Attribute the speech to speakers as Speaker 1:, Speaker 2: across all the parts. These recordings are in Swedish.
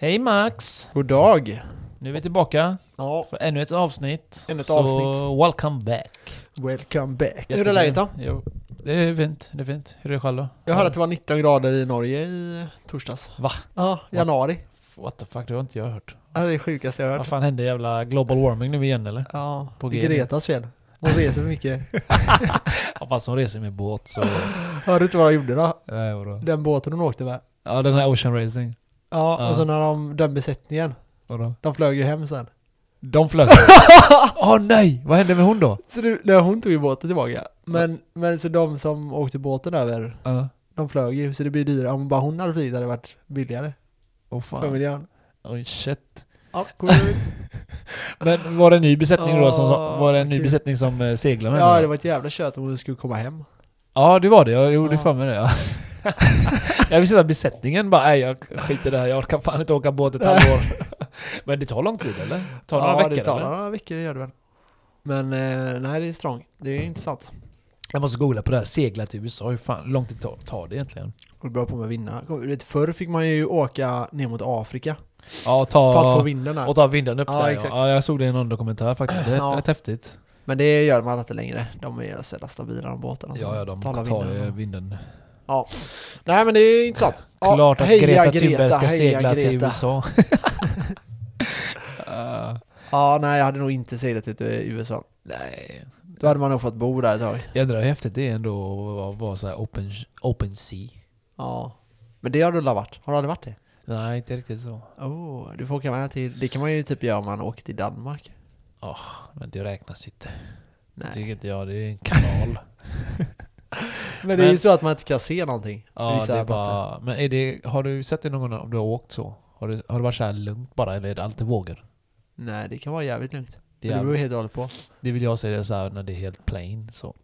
Speaker 1: Hej Max!
Speaker 2: God dag!
Speaker 1: Nu är vi tillbaka
Speaker 2: Ja,
Speaker 1: för ännu ett avsnitt.
Speaker 2: Ännu ett
Speaker 1: Så
Speaker 2: avsnitt.
Speaker 1: welcome back!
Speaker 2: welcome back. Hur är
Speaker 1: Jättekul.
Speaker 2: läget då?
Speaker 1: Jo, det är fint. Det är fint. Hur är det själv då?
Speaker 2: Jag hörde att det var 19 grader i Norge i torsdags.
Speaker 1: Va?
Speaker 2: Ja, januari.
Speaker 1: What the fuck, det har inte jag hört.
Speaker 2: Ja, det är det sjukaste jag
Speaker 1: Vad
Speaker 2: hört.
Speaker 1: fan hände jävla global warming nu igen eller?
Speaker 2: Ja,
Speaker 1: På
Speaker 2: det är
Speaker 1: G. E.
Speaker 2: Gretas fel. Hon reser för mycket.
Speaker 1: Ja, fast hon reser med båt så...
Speaker 2: Hörde du inte vad de gjorde då?
Speaker 1: Nej, vadå?
Speaker 2: Den båten hon åkte med.
Speaker 1: Ja, den här Ocean Racing.
Speaker 2: Ja,
Speaker 1: Ja.
Speaker 2: och så när de, den besättningen.
Speaker 1: Vadå?
Speaker 2: De flög ju hem sen.
Speaker 1: De flög. Åh nej! Vad hände med hon då?
Speaker 2: Så det, nej, hon tog ju båten tillbaka. Men, men så de som åkte båten över,
Speaker 1: Ja.
Speaker 2: de flög ju. Så det blir dyrare. Om bara hon hade flugit hade det varit billigare.
Speaker 1: Åh
Speaker 2: För
Speaker 1: fan.
Speaker 2: miljön.
Speaker 1: Oj shit.
Speaker 2: Ja, kommer du ihåg?
Speaker 1: Men var det en ny besättning då? Som,
Speaker 2: Åh,
Speaker 1: var det en ny
Speaker 2: kul.
Speaker 1: besättning som eh, seglade med
Speaker 2: ja,
Speaker 1: henne
Speaker 2: det
Speaker 1: då?
Speaker 2: var ett jävla tjöt om hon skulle komma hem.
Speaker 1: Ja, det var det. Jag gjorde
Speaker 2: Ja.
Speaker 1: för mig det. Ja. jag visste att besättningen bara, nej jag skiter i det här. Jag orkar fan inte åka båt ett halvår. Men det tar lång tid eller? Tar några
Speaker 2: det
Speaker 1: veckor
Speaker 2: tar
Speaker 1: eller?
Speaker 2: några veckor, det gör det väl. Men eh, nej, det är strong. Det är intressant.
Speaker 1: Jag måste googla på det här. Segla till USA. Hur fan hur lång tid tar, tar det egentligen?
Speaker 2: Och bra på med att vinna. Kom, du vet, förr fick man ju åka ner mot Afrika
Speaker 1: Ja,
Speaker 2: för att få
Speaker 1: ta...
Speaker 2: vinden där.
Speaker 1: Och ta vinden upp
Speaker 2: Ja,
Speaker 1: ja,
Speaker 2: exakt.
Speaker 1: ja, jag såg det i någon dokumentär faktiskt. Det är
Speaker 2: Ja.
Speaker 1: rätt häftigt.
Speaker 2: Men det gör man inte längre. De är så jävla stabila de båtarna. som
Speaker 1: Ja, ja, de
Speaker 2: talar
Speaker 1: tar
Speaker 2: vinden.
Speaker 1: ju vinden.
Speaker 2: Ja. Nej, men det är intressant. Ja,
Speaker 1: Klart att
Speaker 2: heja
Speaker 1: Greta Thunberg ska
Speaker 2: heja
Speaker 1: segla till
Speaker 2: Greta.
Speaker 1: USA. Eh,
Speaker 2: Ja, nej, jag hade nog inte seglat ut i USA.
Speaker 1: nej,
Speaker 2: Då hade man nog fått bo där ett tag.
Speaker 1: jädrar hur häftigt det är ändå att vara- vara så här open, open sea.
Speaker 2: Ja. Men det har du aldrig varit? Har du aldrig varit det?
Speaker 1: Nej, inte riktigt så.
Speaker 2: Oh, du får åka med till... Det kan man ju typ göra om man åker till Danmark.
Speaker 1: Men det räknas inte.
Speaker 2: Nej.
Speaker 1: Tycker inte jag. Det är en kanal.
Speaker 2: Men det är ju
Speaker 1: Men-
Speaker 2: så att man inte kan se någonting.
Speaker 1: ja,
Speaker 2: Vissa
Speaker 1: det är
Speaker 2: platser.
Speaker 1: bara, men är det, har du sett det någon gång om du har åkt så? Har, du, har det varit så här lugnt bara eller är det alltid vågor?
Speaker 2: Nej, det kan vara jävligt lugnt.
Speaker 1: Det,
Speaker 2: Men
Speaker 1: är,
Speaker 2: det beror ju helt och hållet på.
Speaker 1: det vill jag säga det är så här när det är helt plain. Så.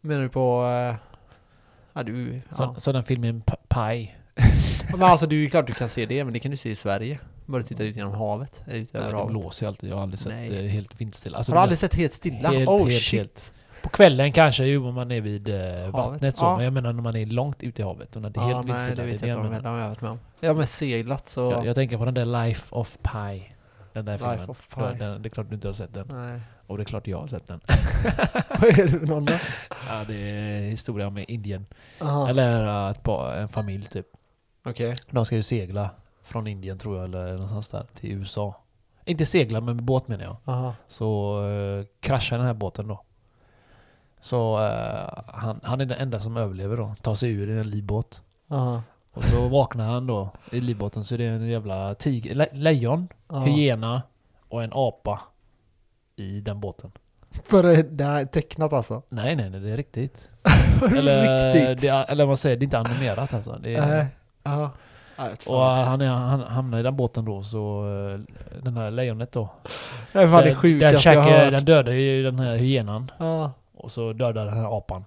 Speaker 2: Menar du på... eh, Ja, du...
Speaker 1: Så,
Speaker 2: Ja.
Speaker 1: så den filmen P- Pi.
Speaker 2: Men alltså, det är ju klart du kan se det, men det kan du se i Sverige. Bara titta ut genom havet. eller Ut över
Speaker 1: Nej, det
Speaker 2: havet.
Speaker 1: blåser ju alltid. Jag har aldrig sett
Speaker 2: Nej.
Speaker 1: det helt vindstilla. Alltså,
Speaker 2: Har du
Speaker 1: det
Speaker 2: aldrig
Speaker 1: mest-
Speaker 2: sett helt stilla?
Speaker 1: Helt,
Speaker 2: oh
Speaker 1: helt,
Speaker 2: shit.
Speaker 1: helt. På kvällen kanske, ju om man är vid eh, vattnet så.
Speaker 2: Ja.
Speaker 1: Men jag menar när man är långt ute i havet och när det är
Speaker 2: Ja,
Speaker 1: helt
Speaker 2: nej,
Speaker 1: vindstilla.
Speaker 2: det
Speaker 1: det är
Speaker 2: vet
Speaker 1: det
Speaker 2: jag
Speaker 1: jag
Speaker 2: inte om
Speaker 1: menar.
Speaker 2: jag har varit med om. Jag har mest seglat, så...
Speaker 1: Jag, jag tänker på den där Life of Pi. Den där
Speaker 2: Life
Speaker 1: filmen.
Speaker 2: of Pi.
Speaker 1: Den, den, det är klart du inte har sett den.
Speaker 2: Nej.
Speaker 1: Och det är klart jag har sett den.
Speaker 2: Vad är det för någon då?
Speaker 1: Ja, det är historia om Indien.
Speaker 2: Aha,
Speaker 1: Eller uh, ett par, en familj typ.
Speaker 2: Okej.
Speaker 1: De ska ju segla från Indien tror jag, eller någonstans där, till USA. Inte segla, men med båt menar jag.
Speaker 2: Aha.
Speaker 1: Så uh, kraschar den här båten då. Så eh, han, han är den enda som överlever då. Tar sig ur i en livbåt.
Speaker 2: Aha.
Speaker 1: Och så vaknar han då i livbåten så är det en jävla tiger, le, lejon,
Speaker 2: Ja.
Speaker 1: hyena och en apa i den båten.
Speaker 2: För det- det här är tecknat alltså?
Speaker 1: Nej, nej, nej, det är riktigt. Eller,
Speaker 2: Eller... Riktigt?
Speaker 1: Det, är- eller vad man säger, det är inte animerat alltså. Det är,
Speaker 2: Nej. Ja. Nej, vet
Speaker 1: och
Speaker 2: fan.
Speaker 1: han, är, han hamnar i den båten då, så eh, den här lejonet då.
Speaker 2: Det är fan det
Speaker 1: Den- den,
Speaker 2: sjukaste jag har
Speaker 1: käkar,
Speaker 2: hört.
Speaker 1: den dödar ju den här hyenan.
Speaker 2: Ja,
Speaker 1: Och så dödar den här apan.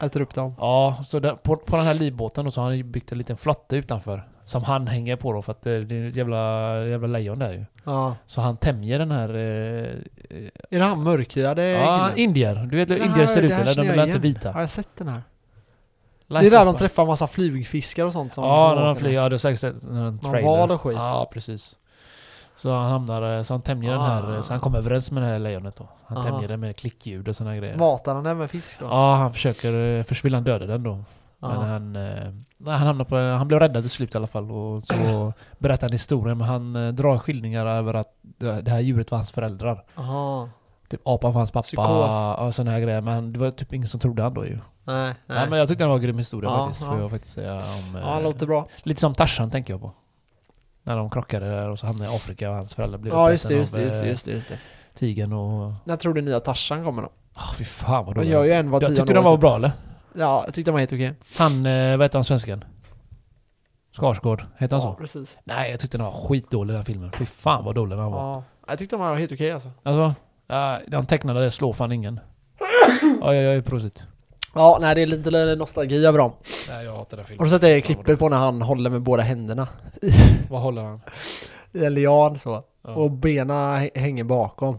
Speaker 2: äter upp dem.
Speaker 1: Ja, så där, på, på den här livbåten då, så har han ju byggt en liten flotte utanför. Som han hänger på då, för att eh, det, det är ett jävla, jävla lejon där ju.
Speaker 2: Ja.
Speaker 1: Så han tämjer den här... Eh, eh,
Speaker 2: Är det han mörkhyade
Speaker 1: ja,
Speaker 2: killen?
Speaker 1: indier. Du vet hur
Speaker 2: Ja,
Speaker 1: indier ser
Speaker 2: det
Speaker 1: ut
Speaker 2: här
Speaker 1: eller? De
Speaker 2: känner
Speaker 1: är
Speaker 2: jag
Speaker 1: inte
Speaker 2: igen.
Speaker 1: vita.
Speaker 2: Har jag sett den här?
Speaker 1: Life
Speaker 2: det är där
Speaker 1: of
Speaker 2: de
Speaker 1: Pi.
Speaker 2: träffar massa flugfiskar och sånt som
Speaker 1: Ja, när
Speaker 2: åker
Speaker 1: de
Speaker 2: där.
Speaker 1: flyger. Ja, det är säkert när de
Speaker 2: Någon
Speaker 1: trailer.
Speaker 2: val och skit.
Speaker 1: Ja, precis. Så han hamnar, eh, så han tämjer den här, eh,
Speaker 2: Ah.
Speaker 1: så han kommer överens med det här lejonet då. Han
Speaker 2: Aha.
Speaker 1: tämjer den med klickljud och sådana grejer.
Speaker 2: Matar han den med fisk Ah. då? Ah.
Speaker 1: Ja, han försöker, eh, först vill han döda den då. Men
Speaker 2: Ja.
Speaker 1: han, eh, nej, han, hamnar på, han blev räddad till slut i alla fall och så berättar han historien. Men han eh, drar skildringar över att det det här djuret var hans föräldrar.
Speaker 2: Aha.
Speaker 1: Typ apan var hans pappa
Speaker 2: Psykos.
Speaker 1: och sådana här grejer. Men det var typ ingen som trodde han då ju. Nej.
Speaker 2: Nej, nej.
Speaker 1: men jag tyckte det var en grym historia
Speaker 2: Ja,
Speaker 1: faktiskt. Får
Speaker 2: ja.
Speaker 1: jag faktiskt säga om...
Speaker 2: ja,
Speaker 1: eh,
Speaker 2: låter bra.
Speaker 1: Lite som Tarzan tänker jag på. När de krockade där och så hamnade i Afrika och hans föräldrar blev
Speaker 2: Ja, just det,
Speaker 1: uppätna
Speaker 2: just det,
Speaker 1: av,
Speaker 2: just det,
Speaker 1: eh,
Speaker 2: just det, just det.
Speaker 1: Tigern och...
Speaker 2: När tror du nya Tarzan kommer då?
Speaker 1: Oh, fy fan vad
Speaker 2: De
Speaker 1: dåligt.
Speaker 2: gör
Speaker 1: Jag,
Speaker 2: ju en var tionde
Speaker 1: tyckte de
Speaker 2: år
Speaker 1: var
Speaker 2: typ.
Speaker 1: bra eller?
Speaker 2: Ja, jag tyckte de var helt okej.
Speaker 1: Han, eh, vad heter han svensken? Skarsgård, heter han
Speaker 2: Ja,
Speaker 1: så?
Speaker 2: precis.
Speaker 1: Nej, jag tyckte den var skitdålig den filmen. Fy fan vad dålig den var.
Speaker 2: Ja. Jag tyckte de var helt okej alltså.
Speaker 1: Alltså, ja, de tecknade det slår fan ingen. Oj, oj, oj, prosit.
Speaker 2: Ja, nej det är lite nostalgi över dem.
Speaker 1: Nej, jag hatar den filmen.
Speaker 2: Har du sett det
Speaker 1: Fan, vad
Speaker 2: klippet på när han håller med båda händerna?
Speaker 1: dålig. Vad håller han?
Speaker 2: I en lian så.
Speaker 1: Ja.
Speaker 2: Och bena h- hänger bakom.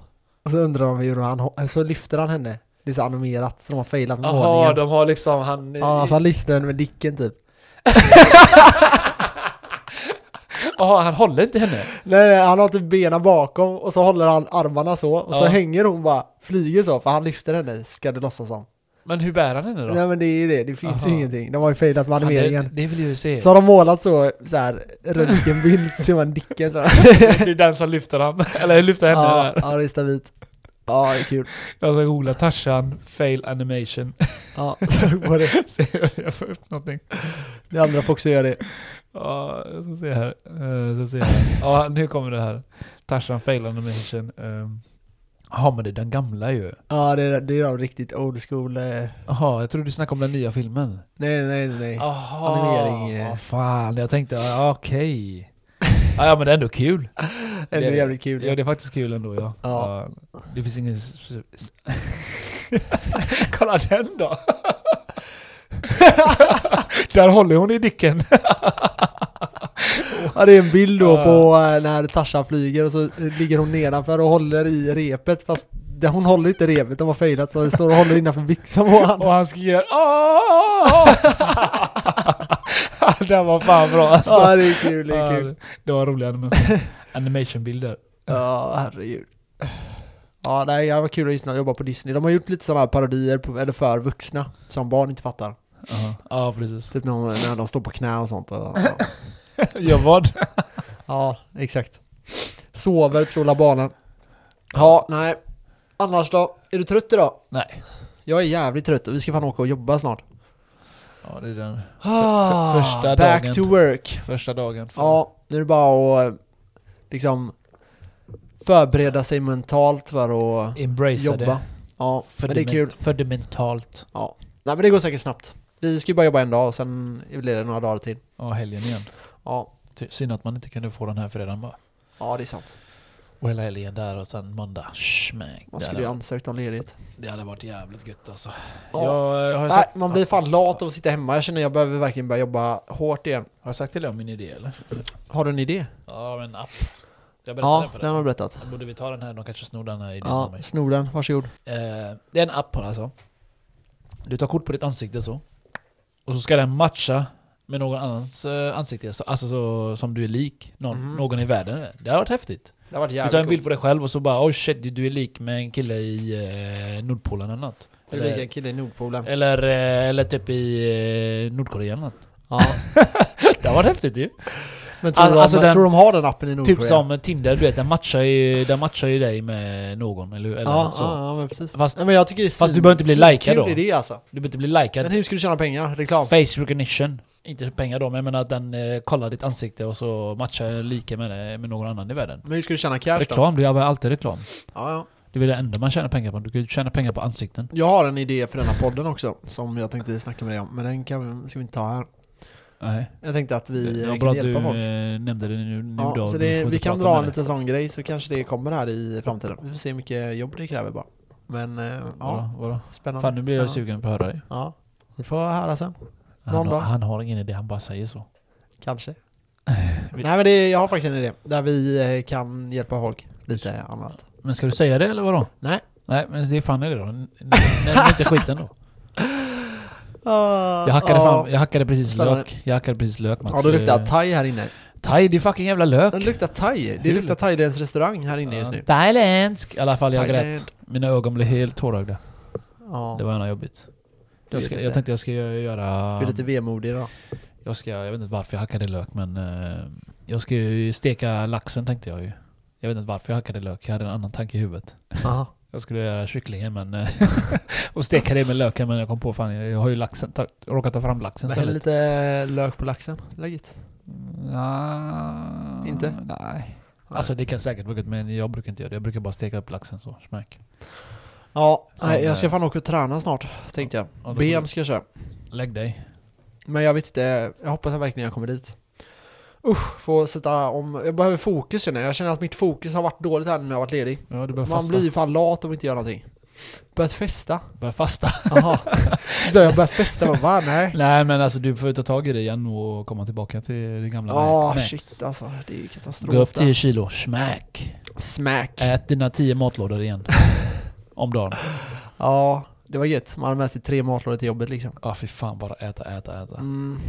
Speaker 2: Och så undrar de hur han, ho- så lyfter han henne. Det är så animerat, så de har failat med
Speaker 1: Jaha,
Speaker 2: ordningen.
Speaker 1: de har liksom han...
Speaker 2: Ja, så han lyfter henne med dicken typ.
Speaker 1: Jaha, han håller inte henne?
Speaker 2: Nej, nej, han har typ benen bakom och så håller han armarna så och så
Speaker 1: Ja.
Speaker 2: hänger hon bara, flyger så för han lyfter henne ska det låtsas som.
Speaker 1: Men hur bär han henne då?
Speaker 2: Nej men det är ju det, det finns ju
Speaker 1: Aha.
Speaker 2: ingenting. De har ju failat med
Speaker 1: Fan, det,
Speaker 2: animeringen.
Speaker 1: det vill jag ju se.
Speaker 2: Så har de målat så, så här röntgenbild ser man dicken så.
Speaker 1: Det är den som lyfter han. Eller lyfter henne
Speaker 2: Ja,
Speaker 1: där.
Speaker 2: ja, det är stabilt. Ja, det är kul.
Speaker 1: Jag ska googla Tarzan fail animation.
Speaker 2: Ja, så var det.
Speaker 1: se om jag får upp någonting.
Speaker 2: Det andra får också göra det.
Speaker 1: Ja, jag ska se här. Eh, Så ser jag. Ja, nu kommer det här. Tarzan fail animation. Ehm, Jaha, men det är den gamla ju.
Speaker 2: Ja, det är, det är de riktigt old school. eh,
Speaker 1: Jaha, jag trodde du snackade om den nya filmen.
Speaker 2: Nej, nej, nej. nej.
Speaker 1: Jaha,
Speaker 2: Animering, eh.
Speaker 1: ja, fan. Jag tänkte, ja, okej. Ja, ja, men det är ändå kul.
Speaker 2: det är
Speaker 1: det-
Speaker 2: jävligt kul.
Speaker 1: Ja, det är faktiskt kul ändå ja.
Speaker 2: Ja.
Speaker 1: Ja, Det finns ingen... s- s- Kolla den då! Där håller hon i dicken.
Speaker 2: Ja, det är en bild då
Speaker 1: Ja.
Speaker 2: på eh, när Tarzan flyger och så ligger hon nedanför och håller i repet fast det- hon håller inte repet, de har failat så det står och håller innanför byxan på honom.
Speaker 1: Och han skriker "Åh!" Den var fan bra alltså.
Speaker 2: Ja, det är kul, det är kul.
Speaker 1: Ja, det var roliga anima- animationbilder.
Speaker 2: Ja, herregud. Ja, nej, det var kul att lyssna och jobba på Disney. De har gjort lite sådana här parodier på, eller för vuxna som barn inte fattar.
Speaker 1: Ja, Ja, precis.
Speaker 2: Typ när, de- när de står på knä och sånt. Och, ja.
Speaker 1: Jag vad?
Speaker 2: ja, exakt. Sover, trollar banan. Ja, nej. Annars då? Är du trött idag?
Speaker 1: Nej.
Speaker 2: Jag är jävligt trött och vi ska fan åka och jobba snart.
Speaker 1: Ja, det är den
Speaker 2: Ah,
Speaker 1: första
Speaker 2: back
Speaker 1: dagen.
Speaker 2: to work.
Speaker 1: första dagen. för-
Speaker 2: Ja, nu är det bara att eh, liksom förbereda sig mentalt för att
Speaker 1: Embracea
Speaker 2: jobba.
Speaker 1: det.
Speaker 2: Ja, men det är
Speaker 1: men-
Speaker 2: kul.
Speaker 1: För det mentalt.
Speaker 2: Nej men det går säkert snabbt. Vi ska ju bara jobba en dag och sen blir det några dagar till.
Speaker 1: Ja, helgen igen.
Speaker 2: Ja,
Speaker 1: Ty- Synd att man inte kunde få den här fredagen bara.
Speaker 2: ja det är sant.
Speaker 1: Och hela helgen där och sen måndag. Smäck.
Speaker 2: Man
Speaker 1: Det
Speaker 2: skulle
Speaker 1: hade
Speaker 2: ju ansökt om ledigt.
Speaker 1: varit- Det hade varit jävligt gött alltså.
Speaker 2: Ja.
Speaker 1: Jag, eh, har, jag
Speaker 2: Nej,
Speaker 1: sagt,
Speaker 2: man blir fan lat av att sitta hemma. Jag känner att jag behöver verkligen börja jobba hårt igen.
Speaker 1: har jag sagt till dig om min idé eller?
Speaker 2: Har du en idé?
Speaker 1: Ja, men app. Jag berättade
Speaker 2: Ja,
Speaker 1: den för
Speaker 2: den
Speaker 1: dig.
Speaker 2: har du berättat.
Speaker 1: Borde vi ta den här? De kanske snor den här idén av
Speaker 2: Ja,
Speaker 1: mig.
Speaker 2: snor den. Varsågod.
Speaker 1: Eh, det är en app alltså. Du tar kort på ditt ansikte så. Och så ska den matcha med någon annans eh, ansikte. Så, alltså så, som du är lik. Någon,
Speaker 2: Mhm.
Speaker 1: någon i världen. Det har varit häftigt.
Speaker 2: Det har varit
Speaker 1: Du tar en bild på dig själv och så bara oh shit du- du är lik med en kille i eh, Nordpolen eller något.
Speaker 2: Du är lik
Speaker 1: Eller,
Speaker 2: en kille i Nordpolen.
Speaker 1: eller, eh, eller typ i eh, Nordkorea eller något.
Speaker 2: Ja.
Speaker 1: Det var häftigt ju.
Speaker 2: Men tror,
Speaker 1: Al-
Speaker 2: du
Speaker 1: alltså
Speaker 2: de,
Speaker 1: den-
Speaker 2: tror de har den appen i Nordkorea?
Speaker 1: typ som Tinder, du vet den matchar ju, den matchar ju dig med någon eller, eller
Speaker 2: ja,
Speaker 1: så.
Speaker 2: ja, ja, men precis.
Speaker 1: Fast-
Speaker 2: ja, men jag tycker det är
Speaker 1: fast du
Speaker 2: svin-
Speaker 1: behöver inte bli
Speaker 2: svinkul
Speaker 1: likad då.
Speaker 2: idé alltså.
Speaker 1: Du behöver inte bli
Speaker 2: Men
Speaker 1: likad.
Speaker 2: hur ska du tjäna pengar? Reklam?
Speaker 1: Face recognition. Inte pengar då, men jag menar att den eh, kollar ditt ansikte och så matchar jag lika med, det- med någon annan i världen.
Speaker 2: Men hur ska du tjäna cash då?
Speaker 1: Reklam, du gör väl alltid reklam.
Speaker 2: Ja, ja.
Speaker 1: Det är väl det enda man tjänar pengar på. Du kan ju tjäna pengar på ansikten.
Speaker 2: Jag har en idé för denna podden också, som jag tänkte snacka med dig om, men den kan, ska vi inte ta här.
Speaker 1: Nej.
Speaker 2: Jag tänkte att vi
Speaker 1: Det
Speaker 2: eh,
Speaker 1: var
Speaker 2: kan
Speaker 1: bra att du
Speaker 2: hjälpa folk.
Speaker 1: eh, nämnde det nu, nu
Speaker 2: Ja,
Speaker 1: då.
Speaker 2: så
Speaker 1: Du
Speaker 2: det,
Speaker 1: får
Speaker 2: vi
Speaker 1: inte
Speaker 2: kan
Speaker 1: prata med
Speaker 2: dra en
Speaker 1: det.
Speaker 2: liten sån grej så kanske det kommer här i framtiden. Vi får se hur mycket jobb det kräver bara. Men eh, ja,
Speaker 1: Vadå, vadå?
Speaker 2: spännande.
Speaker 1: Fan nu blir jag
Speaker 2: spännande.
Speaker 1: sugen på att höra dig.
Speaker 2: Ja, vi får höra sen. Någon
Speaker 1: Han, har-
Speaker 2: dag.
Speaker 1: han har ingen idé, han bara säger så.
Speaker 2: Kanske. Nej men det, jag har faktiskt en idé, där vi eh, kan hjälpa folk lite annat.
Speaker 1: Men ska du säga det eller vadå?
Speaker 2: Nej.
Speaker 1: Nej men det är fan det då. N- n- Nämn inte skiten då. Jag hackade, fram, jag hackade precis
Speaker 2: Spännande.
Speaker 1: lök. Jag hackade precis lök Mats.
Speaker 2: Ja, det luktar
Speaker 1: Eh,
Speaker 2: thai här inne.
Speaker 1: thai. Det är fucking jävla lök.
Speaker 2: Det luktar thai. Det
Speaker 1: Hur?
Speaker 2: luktar thailändsk restaurang här inne just
Speaker 1: Ja,
Speaker 2: nu.
Speaker 1: Thailändsk! I alla fall jag
Speaker 2: Thailand.
Speaker 1: grät. Mina ögon blev helt tårögda.
Speaker 2: Ja.
Speaker 1: Det var gärna jobbigt.
Speaker 2: är
Speaker 1: Jag, ska,
Speaker 2: lite-
Speaker 1: jag tänkte jag ska gö- göra...
Speaker 2: Du är lite vemodig idag.
Speaker 1: Jag ska, jag vet inte varför jag hackade lök men eh, jag ska ju steka laxen tänkte jag ju. Jag vet inte varför jag hackade lök, jag hade en annan tanke i huvudet.
Speaker 2: Aha.
Speaker 1: Jag skulle göra kycklingen men... eh, och steka det med löken men jag kom på fan jag har ju laxen, ta, råkat ta fram laxen
Speaker 2: Men häll
Speaker 1: istället.
Speaker 2: lite eh, lök på laxen. Läget.
Speaker 1: Nja,
Speaker 2: Inte?
Speaker 1: Ah, Nej. Alltså det kan säkert vara gott men jag brukar inte göra det. Jag brukar bara steka upp laxen så, smack.
Speaker 2: Ja,
Speaker 1: Som,
Speaker 2: nej, jag ska
Speaker 1: eh,
Speaker 2: fan åka och träna snart, tänkte
Speaker 1: då
Speaker 2: jag.
Speaker 1: får
Speaker 2: Ben
Speaker 1: du-
Speaker 2: ska jag köra.
Speaker 1: Lägg dig.
Speaker 2: Men jag vet inte, jag hoppas verkligen jag kommer dit. Usch, få sätta om, jag behöver fokus känner jag. Jag känner att mitt fokus har varit dåligt här nu när jag har varit ledig.
Speaker 1: Ja du börjar
Speaker 2: Man
Speaker 1: fasta.
Speaker 2: blir ju fan lat om man inte gör någonting. Börjat festa.
Speaker 1: Börjar fasta.
Speaker 2: Jaha. Så jag har börjat festa, vad va? Nej.
Speaker 1: nej men alltså du får ju ta tag i det igen och komma tillbaka till det gamla
Speaker 2: Ja,
Speaker 1: Max.
Speaker 2: shit alltså. Det är ju katastrof.
Speaker 1: Gå upp Äh.
Speaker 2: där.
Speaker 1: 10 kilo, smack.
Speaker 2: Smack.
Speaker 1: Ät dina tio matlådor igen. Om dagen.
Speaker 2: Ja, det var gött. Man hade med sig tre matlådor till jobbet liksom.
Speaker 1: Ja ah, fy fan, bara äta, äta, äta.
Speaker 2: Mm.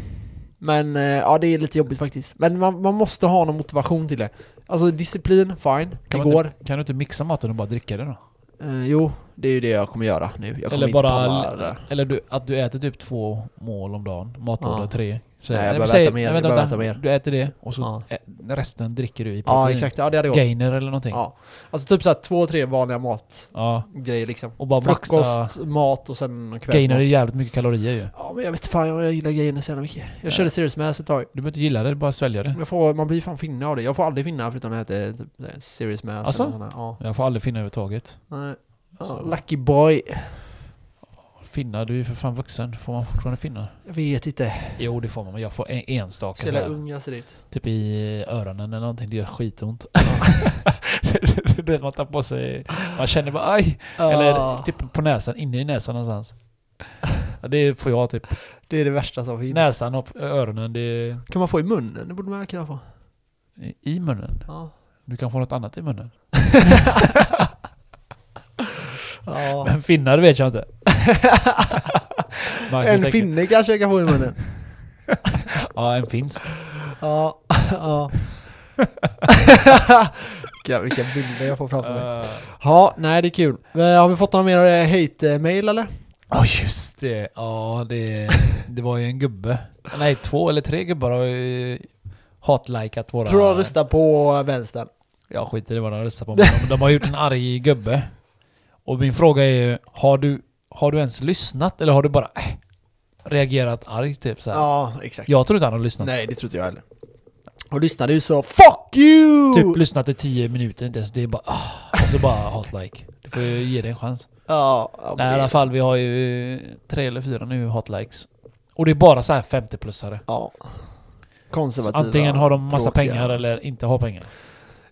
Speaker 2: Men eh, ja, det är lite jobbigt faktiskt. Men man, man måste ha någon motivation till det. Alltså disciplin, fine. Det
Speaker 1: Kan, man
Speaker 2: går.
Speaker 1: Inte, kan du inte mixa maten och bara dricka den då?
Speaker 2: Eh, jo, det är ju det jag kommer göra nu. Jag kommer
Speaker 1: Eller
Speaker 2: inte
Speaker 1: bara...
Speaker 2: palla det där.
Speaker 1: Eller du, att du äter typ två mål om dagen. Matlåda
Speaker 2: Ja.
Speaker 1: tre. Så,
Speaker 2: Nej, jag
Speaker 1: men
Speaker 2: behöver
Speaker 1: säg-
Speaker 2: äta mer,
Speaker 1: nej,
Speaker 2: jag
Speaker 1: vänta, vänta.
Speaker 2: behöver äta mer.
Speaker 1: Du äter det och så
Speaker 2: Ja.
Speaker 1: ä- resten dricker du i
Speaker 2: Ja, exakt. Ja, det hade gått.
Speaker 1: Gainer eller någonting. Ja.
Speaker 2: Ja. Alltså typ såhär två, tre vanliga matgrejer liksom.
Speaker 1: Och bara
Speaker 2: Frukost,
Speaker 1: maxa...
Speaker 2: mat och sen
Speaker 1: Gainer är
Speaker 2: kvällsmat.
Speaker 1: jävligt mycket kalorier ju.
Speaker 2: Ja, men jag vet fan, jag, jag gillar gainer så jävla mycket. Jag körde Serious Mass ett tag.
Speaker 1: Du behöver inte gilla det, bara svälja det.
Speaker 2: Jag får, man blir fan finne av det. Jag får aldrig finna förutom när det heter typ, eh, Serious Mass.
Speaker 1: Alltså?
Speaker 2: eller sådana. Ja.
Speaker 1: Jag får aldrig finna överhuvudtaget.
Speaker 2: Nej. Ja,
Speaker 1: Så.
Speaker 2: lucky boy.
Speaker 1: Finna, du är ju för fan vuxen. Får man fortfarande finna?
Speaker 2: Jag vet inte.
Speaker 1: Jo, det får man. Men jag får en, enstaka.
Speaker 2: Så jävla
Speaker 1: så här.
Speaker 2: ung jag ser ut.
Speaker 1: Typ i öronen eller någonting, det gör skitont. du vet man tar på sig, man känner bara aj. Eller
Speaker 2: typ,
Speaker 1: typ på näsan, inne i näsan någonstans. Ja, det får jag typ.
Speaker 2: det är det värsta som finns.
Speaker 1: Näsan och öronen, det är
Speaker 2: Kan man få i munnen? Det borde man kunna få.
Speaker 1: i munnen.
Speaker 2: Ja.
Speaker 1: Du kan få något annat i munnen.
Speaker 2: ja.
Speaker 1: Men finnar vet jag inte. Marcus
Speaker 2: En
Speaker 1: tänker-
Speaker 2: finne kanske jag kan få i munnen.
Speaker 1: Ja, en finsk.
Speaker 2: ja. ja. Vilka- Vilka bilder jag får framför mig.
Speaker 1: Eh,
Speaker 2: Ja, nej det är kul. Eh, Har vi fått några mer eh, hate-mail eller?
Speaker 1: Ja just det, ja det, det var ju en gubbe. Nej två eller tre gubbar har ju hatlikat våra...
Speaker 2: Tror de röstar på eh, vänstern?
Speaker 1: Jag skiter i vad de röstar på. Men de, de har gjort en arg gubbe. Och min fråga är ju, har du, har du ens lyssnat eller har du bara äh, reagerat arg typ så här?
Speaker 2: Ja, exakt.
Speaker 1: Jag tror inte han har lyssnat.
Speaker 2: Nej, det tror inte jag heller. Och lyssnade ju så FUCK YOU!
Speaker 1: Typ lyssnat i tio minuter, inte ens det är bara ah, Och så bara hatlike. Du får ju ge det en chans.
Speaker 2: Ja, ja,
Speaker 1: Nej i
Speaker 2: det-
Speaker 1: alla fall, vi har ju eh, tre eller fyra nu hatlikes. Och det är bara så här 50-plussare.
Speaker 2: Ja.
Speaker 1: Så
Speaker 2: Konservativa.
Speaker 1: Antingen har de massa
Speaker 2: typ tråkiga.
Speaker 1: pengar eller inte har pengar.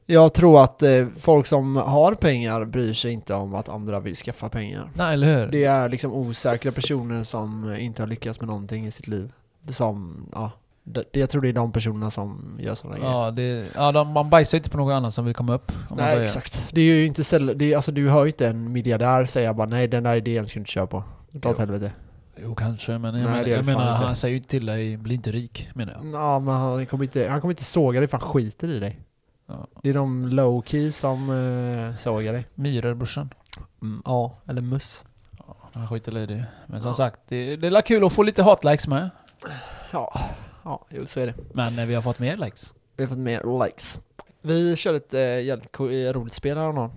Speaker 2: Jag tror att eh, folk som har pengar bryr sig inte om att andra vill skaffa pengar.
Speaker 1: Nej, eller hur?
Speaker 2: Det är liksom osäkra personer som inte har lyckats med någonting i sitt liv. Det Som, ja. Det, jag tror det är de personerna som gör sådana grejer.
Speaker 1: ja, det, ja de, man bajsar inte på någon annan som vill komma upp. Om man
Speaker 2: Nej
Speaker 1: säger.
Speaker 2: exakt. Det är ju inte säll- det är, alltså du hör ju inte en miljardär säga bara nej den där idén ska du inte köra på. Dra åt
Speaker 1: Jo.
Speaker 2: helvete.
Speaker 1: Jo, kanske, men jag
Speaker 2: Nej,
Speaker 1: menar,
Speaker 2: det gör
Speaker 1: jag
Speaker 2: det fan
Speaker 1: menar
Speaker 2: inte. Mm.
Speaker 1: han säger ju inte till dig, bli inte rik, menar jag.
Speaker 2: Ja men han kommer inte, han kommer inte såga dig för han skiter i dig.
Speaker 1: Ja.
Speaker 2: Det är de low key som eh, sågar dig.
Speaker 1: Myror, brorsan. Mm,
Speaker 2: ja, eller muss.
Speaker 1: Han skiter i det. Men som
Speaker 2: Ja.
Speaker 1: sagt, det, det är la kul att få lite hatlikes med.
Speaker 2: Ja, ja jo, så är det.
Speaker 1: Men eh, vi har fått mer likes.
Speaker 2: Vi har fått mer likes. Vi körde ett eh, jävligt ko- eh, roligt spel häromdagen.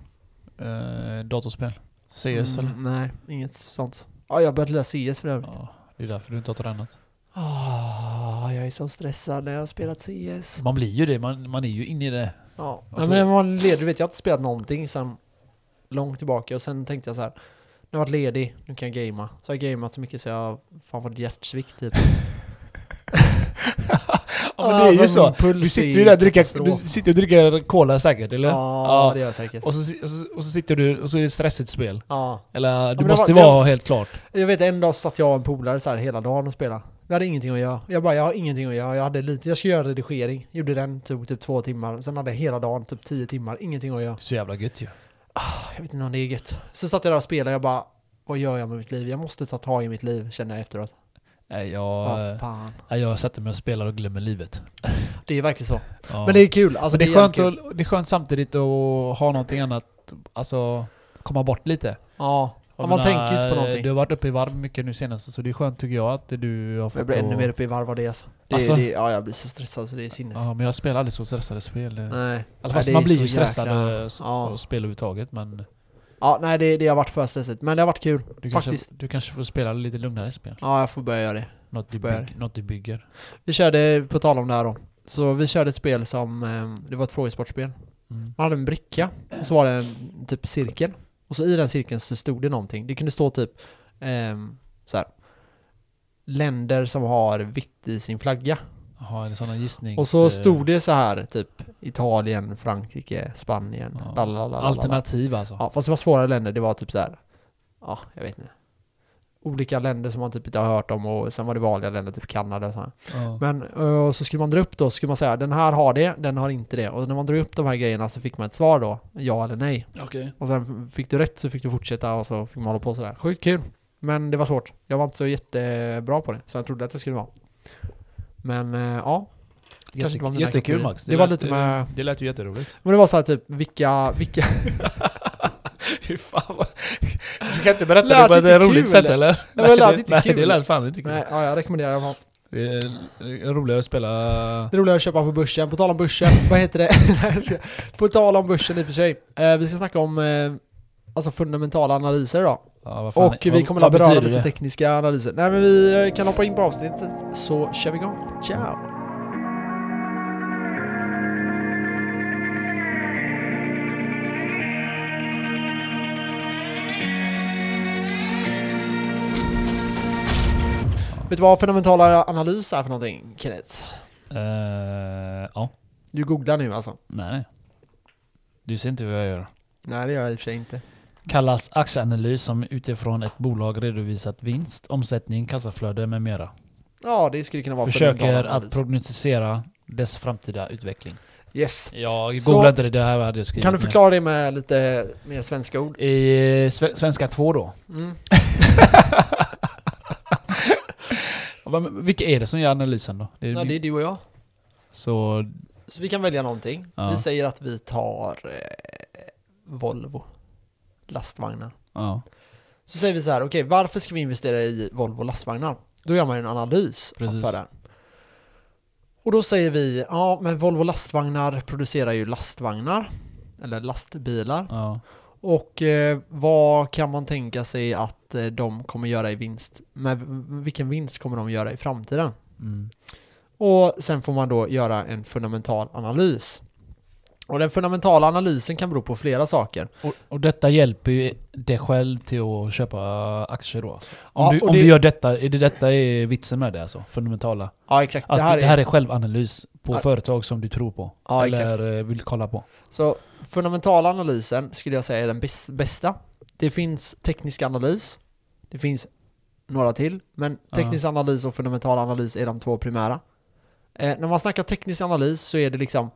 Speaker 1: Eh, datorspel. CS eller?
Speaker 2: Mm, nej, inget sånt. Ja, jag har börjat lära CS för övrigt.
Speaker 1: Ja, det är därför du inte har tränat.
Speaker 2: Ah, jag är så stressad när jag har spelat CS.
Speaker 1: Man blir ju det, man, man är ju inne i det.
Speaker 2: Ja,
Speaker 1: Alltså-
Speaker 2: men när man var ledig vet jag har inte spelat någonting sen långt tillbaka och sen tänkte jag så här. Nu har jag varit ledig, nu kan jag gamea. Så har jag gameat så mycket så jag har fan fått hjärtsvikt typ.
Speaker 1: Ja men det är ju
Speaker 2: Alltså, min
Speaker 1: så.
Speaker 2: puls
Speaker 1: Du
Speaker 2: är
Speaker 1: sitter
Speaker 2: ju
Speaker 1: ju där och dricker,
Speaker 2: katastrof.
Speaker 1: du sitter och dricker cola säkert eller?
Speaker 2: Ja, det gör jag säkert.
Speaker 1: Och så, si- och, så, och så sitter du och så är det stressigt spel.
Speaker 2: Ja.
Speaker 1: Eller du
Speaker 2: men det
Speaker 1: måste
Speaker 2: var- det
Speaker 1: vara helt klart.
Speaker 2: Jag vet en dag satt jag och en polare så här hela dagen och spelade. Vi hade ingenting att göra. Jag bara, jag har ingenting att göra. Jag hade lite, jag skulle göra redigering. Gjorde den, tog typ två timmar. Sen hade jag hela dagen, typ tio timmar. Ingenting att göra.
Speaker 1: Så jävla gött ju.
Speaker 2: Jag vet inte om det är gött. Så satt jag där och spelade. Jag bara, vad gör jag med mitt liv? Jag måste ta tag i mitt liv, känner jag efteråt.
Speaker 1: Nej,
Speaker 2: Vad
Speaker 1: jag,
Speaker 2: fan.
Speaker 1: nej, jag sätter mig och spelar och glömmer livet.
Speaker 2: Det är verkligen så.
Speaker 1: Ja.
Speaker 2: Men det är kul.
Speaker 1: Men
Speaker 2: Alltså,
Speaker 1: det, är
Speaker 2: jävligt
Speaker 1: skönt
Speaker 2: kul.
Speaker 1: att, det är skönt samtidigt att ha någonting annat, alltså komma bort lite.
Speaker 2: Ja,
Speaker 1: Jag
Speaker 2: ja man
Speaker 1: menar,
Speaker 2: tänker ju inte på någonting.
Speaker 1: eh, Du har varit uppe i varv mycket nu senast, så det är skönt tycker jag att du har fått...
Speaker 2: jag blir ännu
Speaker 1: att-
Speaker 2: mer uppe i varv av det alltså. Det,
Speaker 1: Alltså?
Speaker 2: det, ja, jag blir så stressad så det är sinnes.
Speaker 1: Ja, men jag spelar aldrig så stressade spel. Nej.
Speaker 2: Nej.
Speaker 1: Alltså,
Speaker 2: Nej,
Speaker 1: fast
Speaker 2: det
Speaker 1: man
Speaker 2: är
Speaker 1: blir
Speaker 2: så
Speaker 1: ju stressad
Speaker 2: jäkla-
Speaker 1: av
Speaker 2: Ja.
Speaker 1: ja. spel överhuvudtaget, men...
Speaker 2: Ja, nej det, det har varit för stressigt. Men det har varit kul.
Speaker 1: Du kanske,
Speaker 2: Faktiskt.
Speaker 1: du kanske får spela lite lugnare spel.
Speaker 2: Ja, jag får börja göra det.
Speaker 1: Något du,
Speaker 2: Börjar.
Speaker 1: bygg, något du bygger.
Speaker 2: Vi körde, på tal om det här då. Så vi körde ett spel som, eh, det var ett frågesportspel.
Speaker 1: Mm.
Speaker 2: Man hade en bricka, och så var det en typ cirkel. Och så i den cirkeln så stod det någonting. Det kunde stå typ ehm, så här. Länder som har vitt i sin flagga.
Speaker 1: Jaha, är det sådana gissnings...
Speaker 2: Och så
Speaker 1: eh,
Speaker 2: stod det så här typ Italien, Frankrike, Spanien,
Speaker 1: Ja.
Speaker 2: lalalala.
Speaker 1: eh, Alternativ alltså.
Speaker 2: Ja, fast det var svåra länder. Det var typ så här. Ja, jag vet inte. Olika länder som man typ inte har hört om och sen var det vanliga länder, typ Kanada och så här.
Speaker 1: Ja.
Speaker 2: Men eh, så skulle man dra upp då, så skulle man säga den här har det, den har inte det. Och när man drar upp de här grejerna så fick man ett svar då, ja eller nej.
Speaker 1: Okej.
Speaker 2: Och sen fick du rätt så fick du fortsätta och så fick man hålla på sådär. Sjukt kul. Men det var svårt. Jag var inte så jättebra på det, så jag trodde att det skulle vara. Men eh, ja, kanske inte var mina
Speaker 1: Jättekul
Speaker 2: kategorier.
Speaker 1: Max.
Speaker 2: Det, var
Speaker 1: lät,
Speaker 2: lite
Speaker 1: eh,
Speaker 2: med...
Speaker 1: Det lät ju jätteroligt.
Speaker 2: Men det var så här typ, vilka... vilka
Speaker 1: Fy fan vad... Du kan inte berätta det
Speaker 2: Lät
Speaker 1: på
Speaker 2: lite
Speaker 1: ett roligt
Speaker 2: kul,
Speaker 1: sätt
Speaker 2: eller?
Speaker 1: eller?
Speaker 2: men lät
Speaker 1: det-
Speaker 2: inte
Speaker 1: nej,
Speaker 2: kul.
Speaker 1: det lät fan inte kul.
Speaker 2: nej, ja, jag rekommenderar det.
Speaker 1: Det är det är roligare att spela...
Speaker 2: Det roliga är att köpa på börsen. På tal om börsen, vad heter det? Nej, jag skojar. på tal om börsen i och för sig. Eh, vi ska snacka om eh, alltså fundamentala analyser idag.
Speaker 1: Ja, vad fan-
Speaker 2: Och vi
Speaker 1: vad-
Speaker 2: kommer
Speaker 1: vad
Speaker 2: att beröra
Speaker 1: betyder
Speaker 2: lite
Speaker 1: det?
Speaker 2: tekniska analyser. Nej men vi eh, kan hoppa in på avsnittet så kör vi igång. Ciao! Vet du vad fundamentala analys är för någonting, Kenneth?
Speaker 1: Eh, ja.
Speaker 2: Du googlar nu alltså?
Speaker 1: Nej, nej. Du ser inte vad jag gör.
Speaker 2: Nej det gör jag i och för sig inte.
Speaker 1: Kallas aktieanalys som utifrån ett bolag redovisat vinst, omsättning, kassaflöde med mera.
Speaker 2: Ja det skulle kunna vara
Speaker 1: Försöker
Speaker 2: fundamentala
Speaker 1: att
Speaker 2: analyser.
Speaker 1: prognostisera dess framtida utveckling.
Speaker 2: Yes.
Speaker 1: Jag
Speaker 2: Så-
Speaker 1: googlar inte det, det här hade jag skrivit
Speaker 2: Kan du
Speaker 1: ner.
Speaker 2: förklara det med lite mer svenska ord?
Speaker 1: I eh, sve- svenska 2 då?
Speaker 2: Mm.
Speaker 1: Ja, men Vilka är det som gör analysen då? Det är
Speaker 2: Ja, det är du och jag.
Speaker 1: Så...
Speaker 2: Så vi kan välja någonting.
Speaker 1: Ja.
Speaker 2: Vi säger att vi tar eh, Volvo lastvagnar.
Speaker 1: Ja,
Speaker 2: Så säger vi så här, okej varför ska vi investera i Volvo lastvagnar? Då gör man ju en analys
Speaker 1: Precis.
Speaker 2: för det. Och då säger vi, ja men Volvo lastvagnar producerar ju lastvagnar, eller lastbilar.
Speaker 1: ja.
Speaker 2: Och eh, vad kan man tänka sig att eh, de kommer göra i vinst? Med, vilken vinst kommer de göra i framtiden?
Speaker 1: Mm.
Speaker 2: Och sen får man då göra en fundamental analys. Och den fundamentala analysen kan bero på flera saker.
Speaker 1: Och, och detta hjälper ju dig själv till att köpa aktier då? Alltså. Om,
Speaker 2: Ja,
Speaker 1: du,
Speaker 2: och
Speaker 1: om
Speaker 2: det-
Speaker 1: du gör detta, är det detta är vitsen med det alltså? Fundamentala?
Speaker 2: Ja, exakt.
Speaker 1: Att
Speaker 2: Det här, är,
Speaker 1: är självanalys på
Speaker 2: Ja.
Speaker 1: företag som du tror på?
Speaker 2: Ja,
Speaker 1: eller
Speaker 2: exakt.
Speaker 1: eh, vill kolla på?
Speaker 2: Så fundamentala analysen skulle jag säga är den bäs- bästa. Det finns teknisk analys. Det finns några till. Men teknisk analys och fundamental analys är de två primära. Eh, när man snackar teknisk analys så är det liksom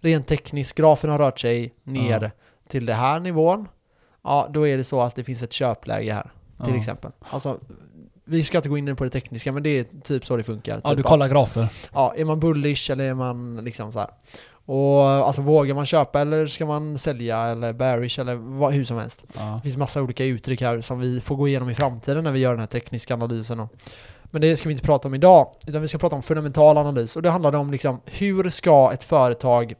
Speaker 2: rent tekniskt, grafen har rört sig ner
Speaker 1: Ja.
Speaker 2: till den här nivån. Ja, då är det så att det finns ett köpläge här. till
Speaker 1: ja.
Speaker 2: exempel. Alltså, vi ska inte gå in på det tekniska, men det är typ så det funkar.
Speaker 1: Ja,
Speaker 2: typ
Speaker 1: du kollar
Speaker 2: att-
Speaker 1: grafer.
Speaker 2: Ja, är man bullish eller är man liksom så här? Och alltså vågar man köpa eller ska man sälja eller bearish eller vad, hur som helst.
Speaker 1: Ja.
Speaker 2: Det finns massa olika uttryck här som vi får gå igenom i framtiden när vi gör den här tekniska analysen. Och, men det ska vi inte prata om idag, utan vi ska prata om fundamental analys. Och det handlar om liksom, hur ska ett företag...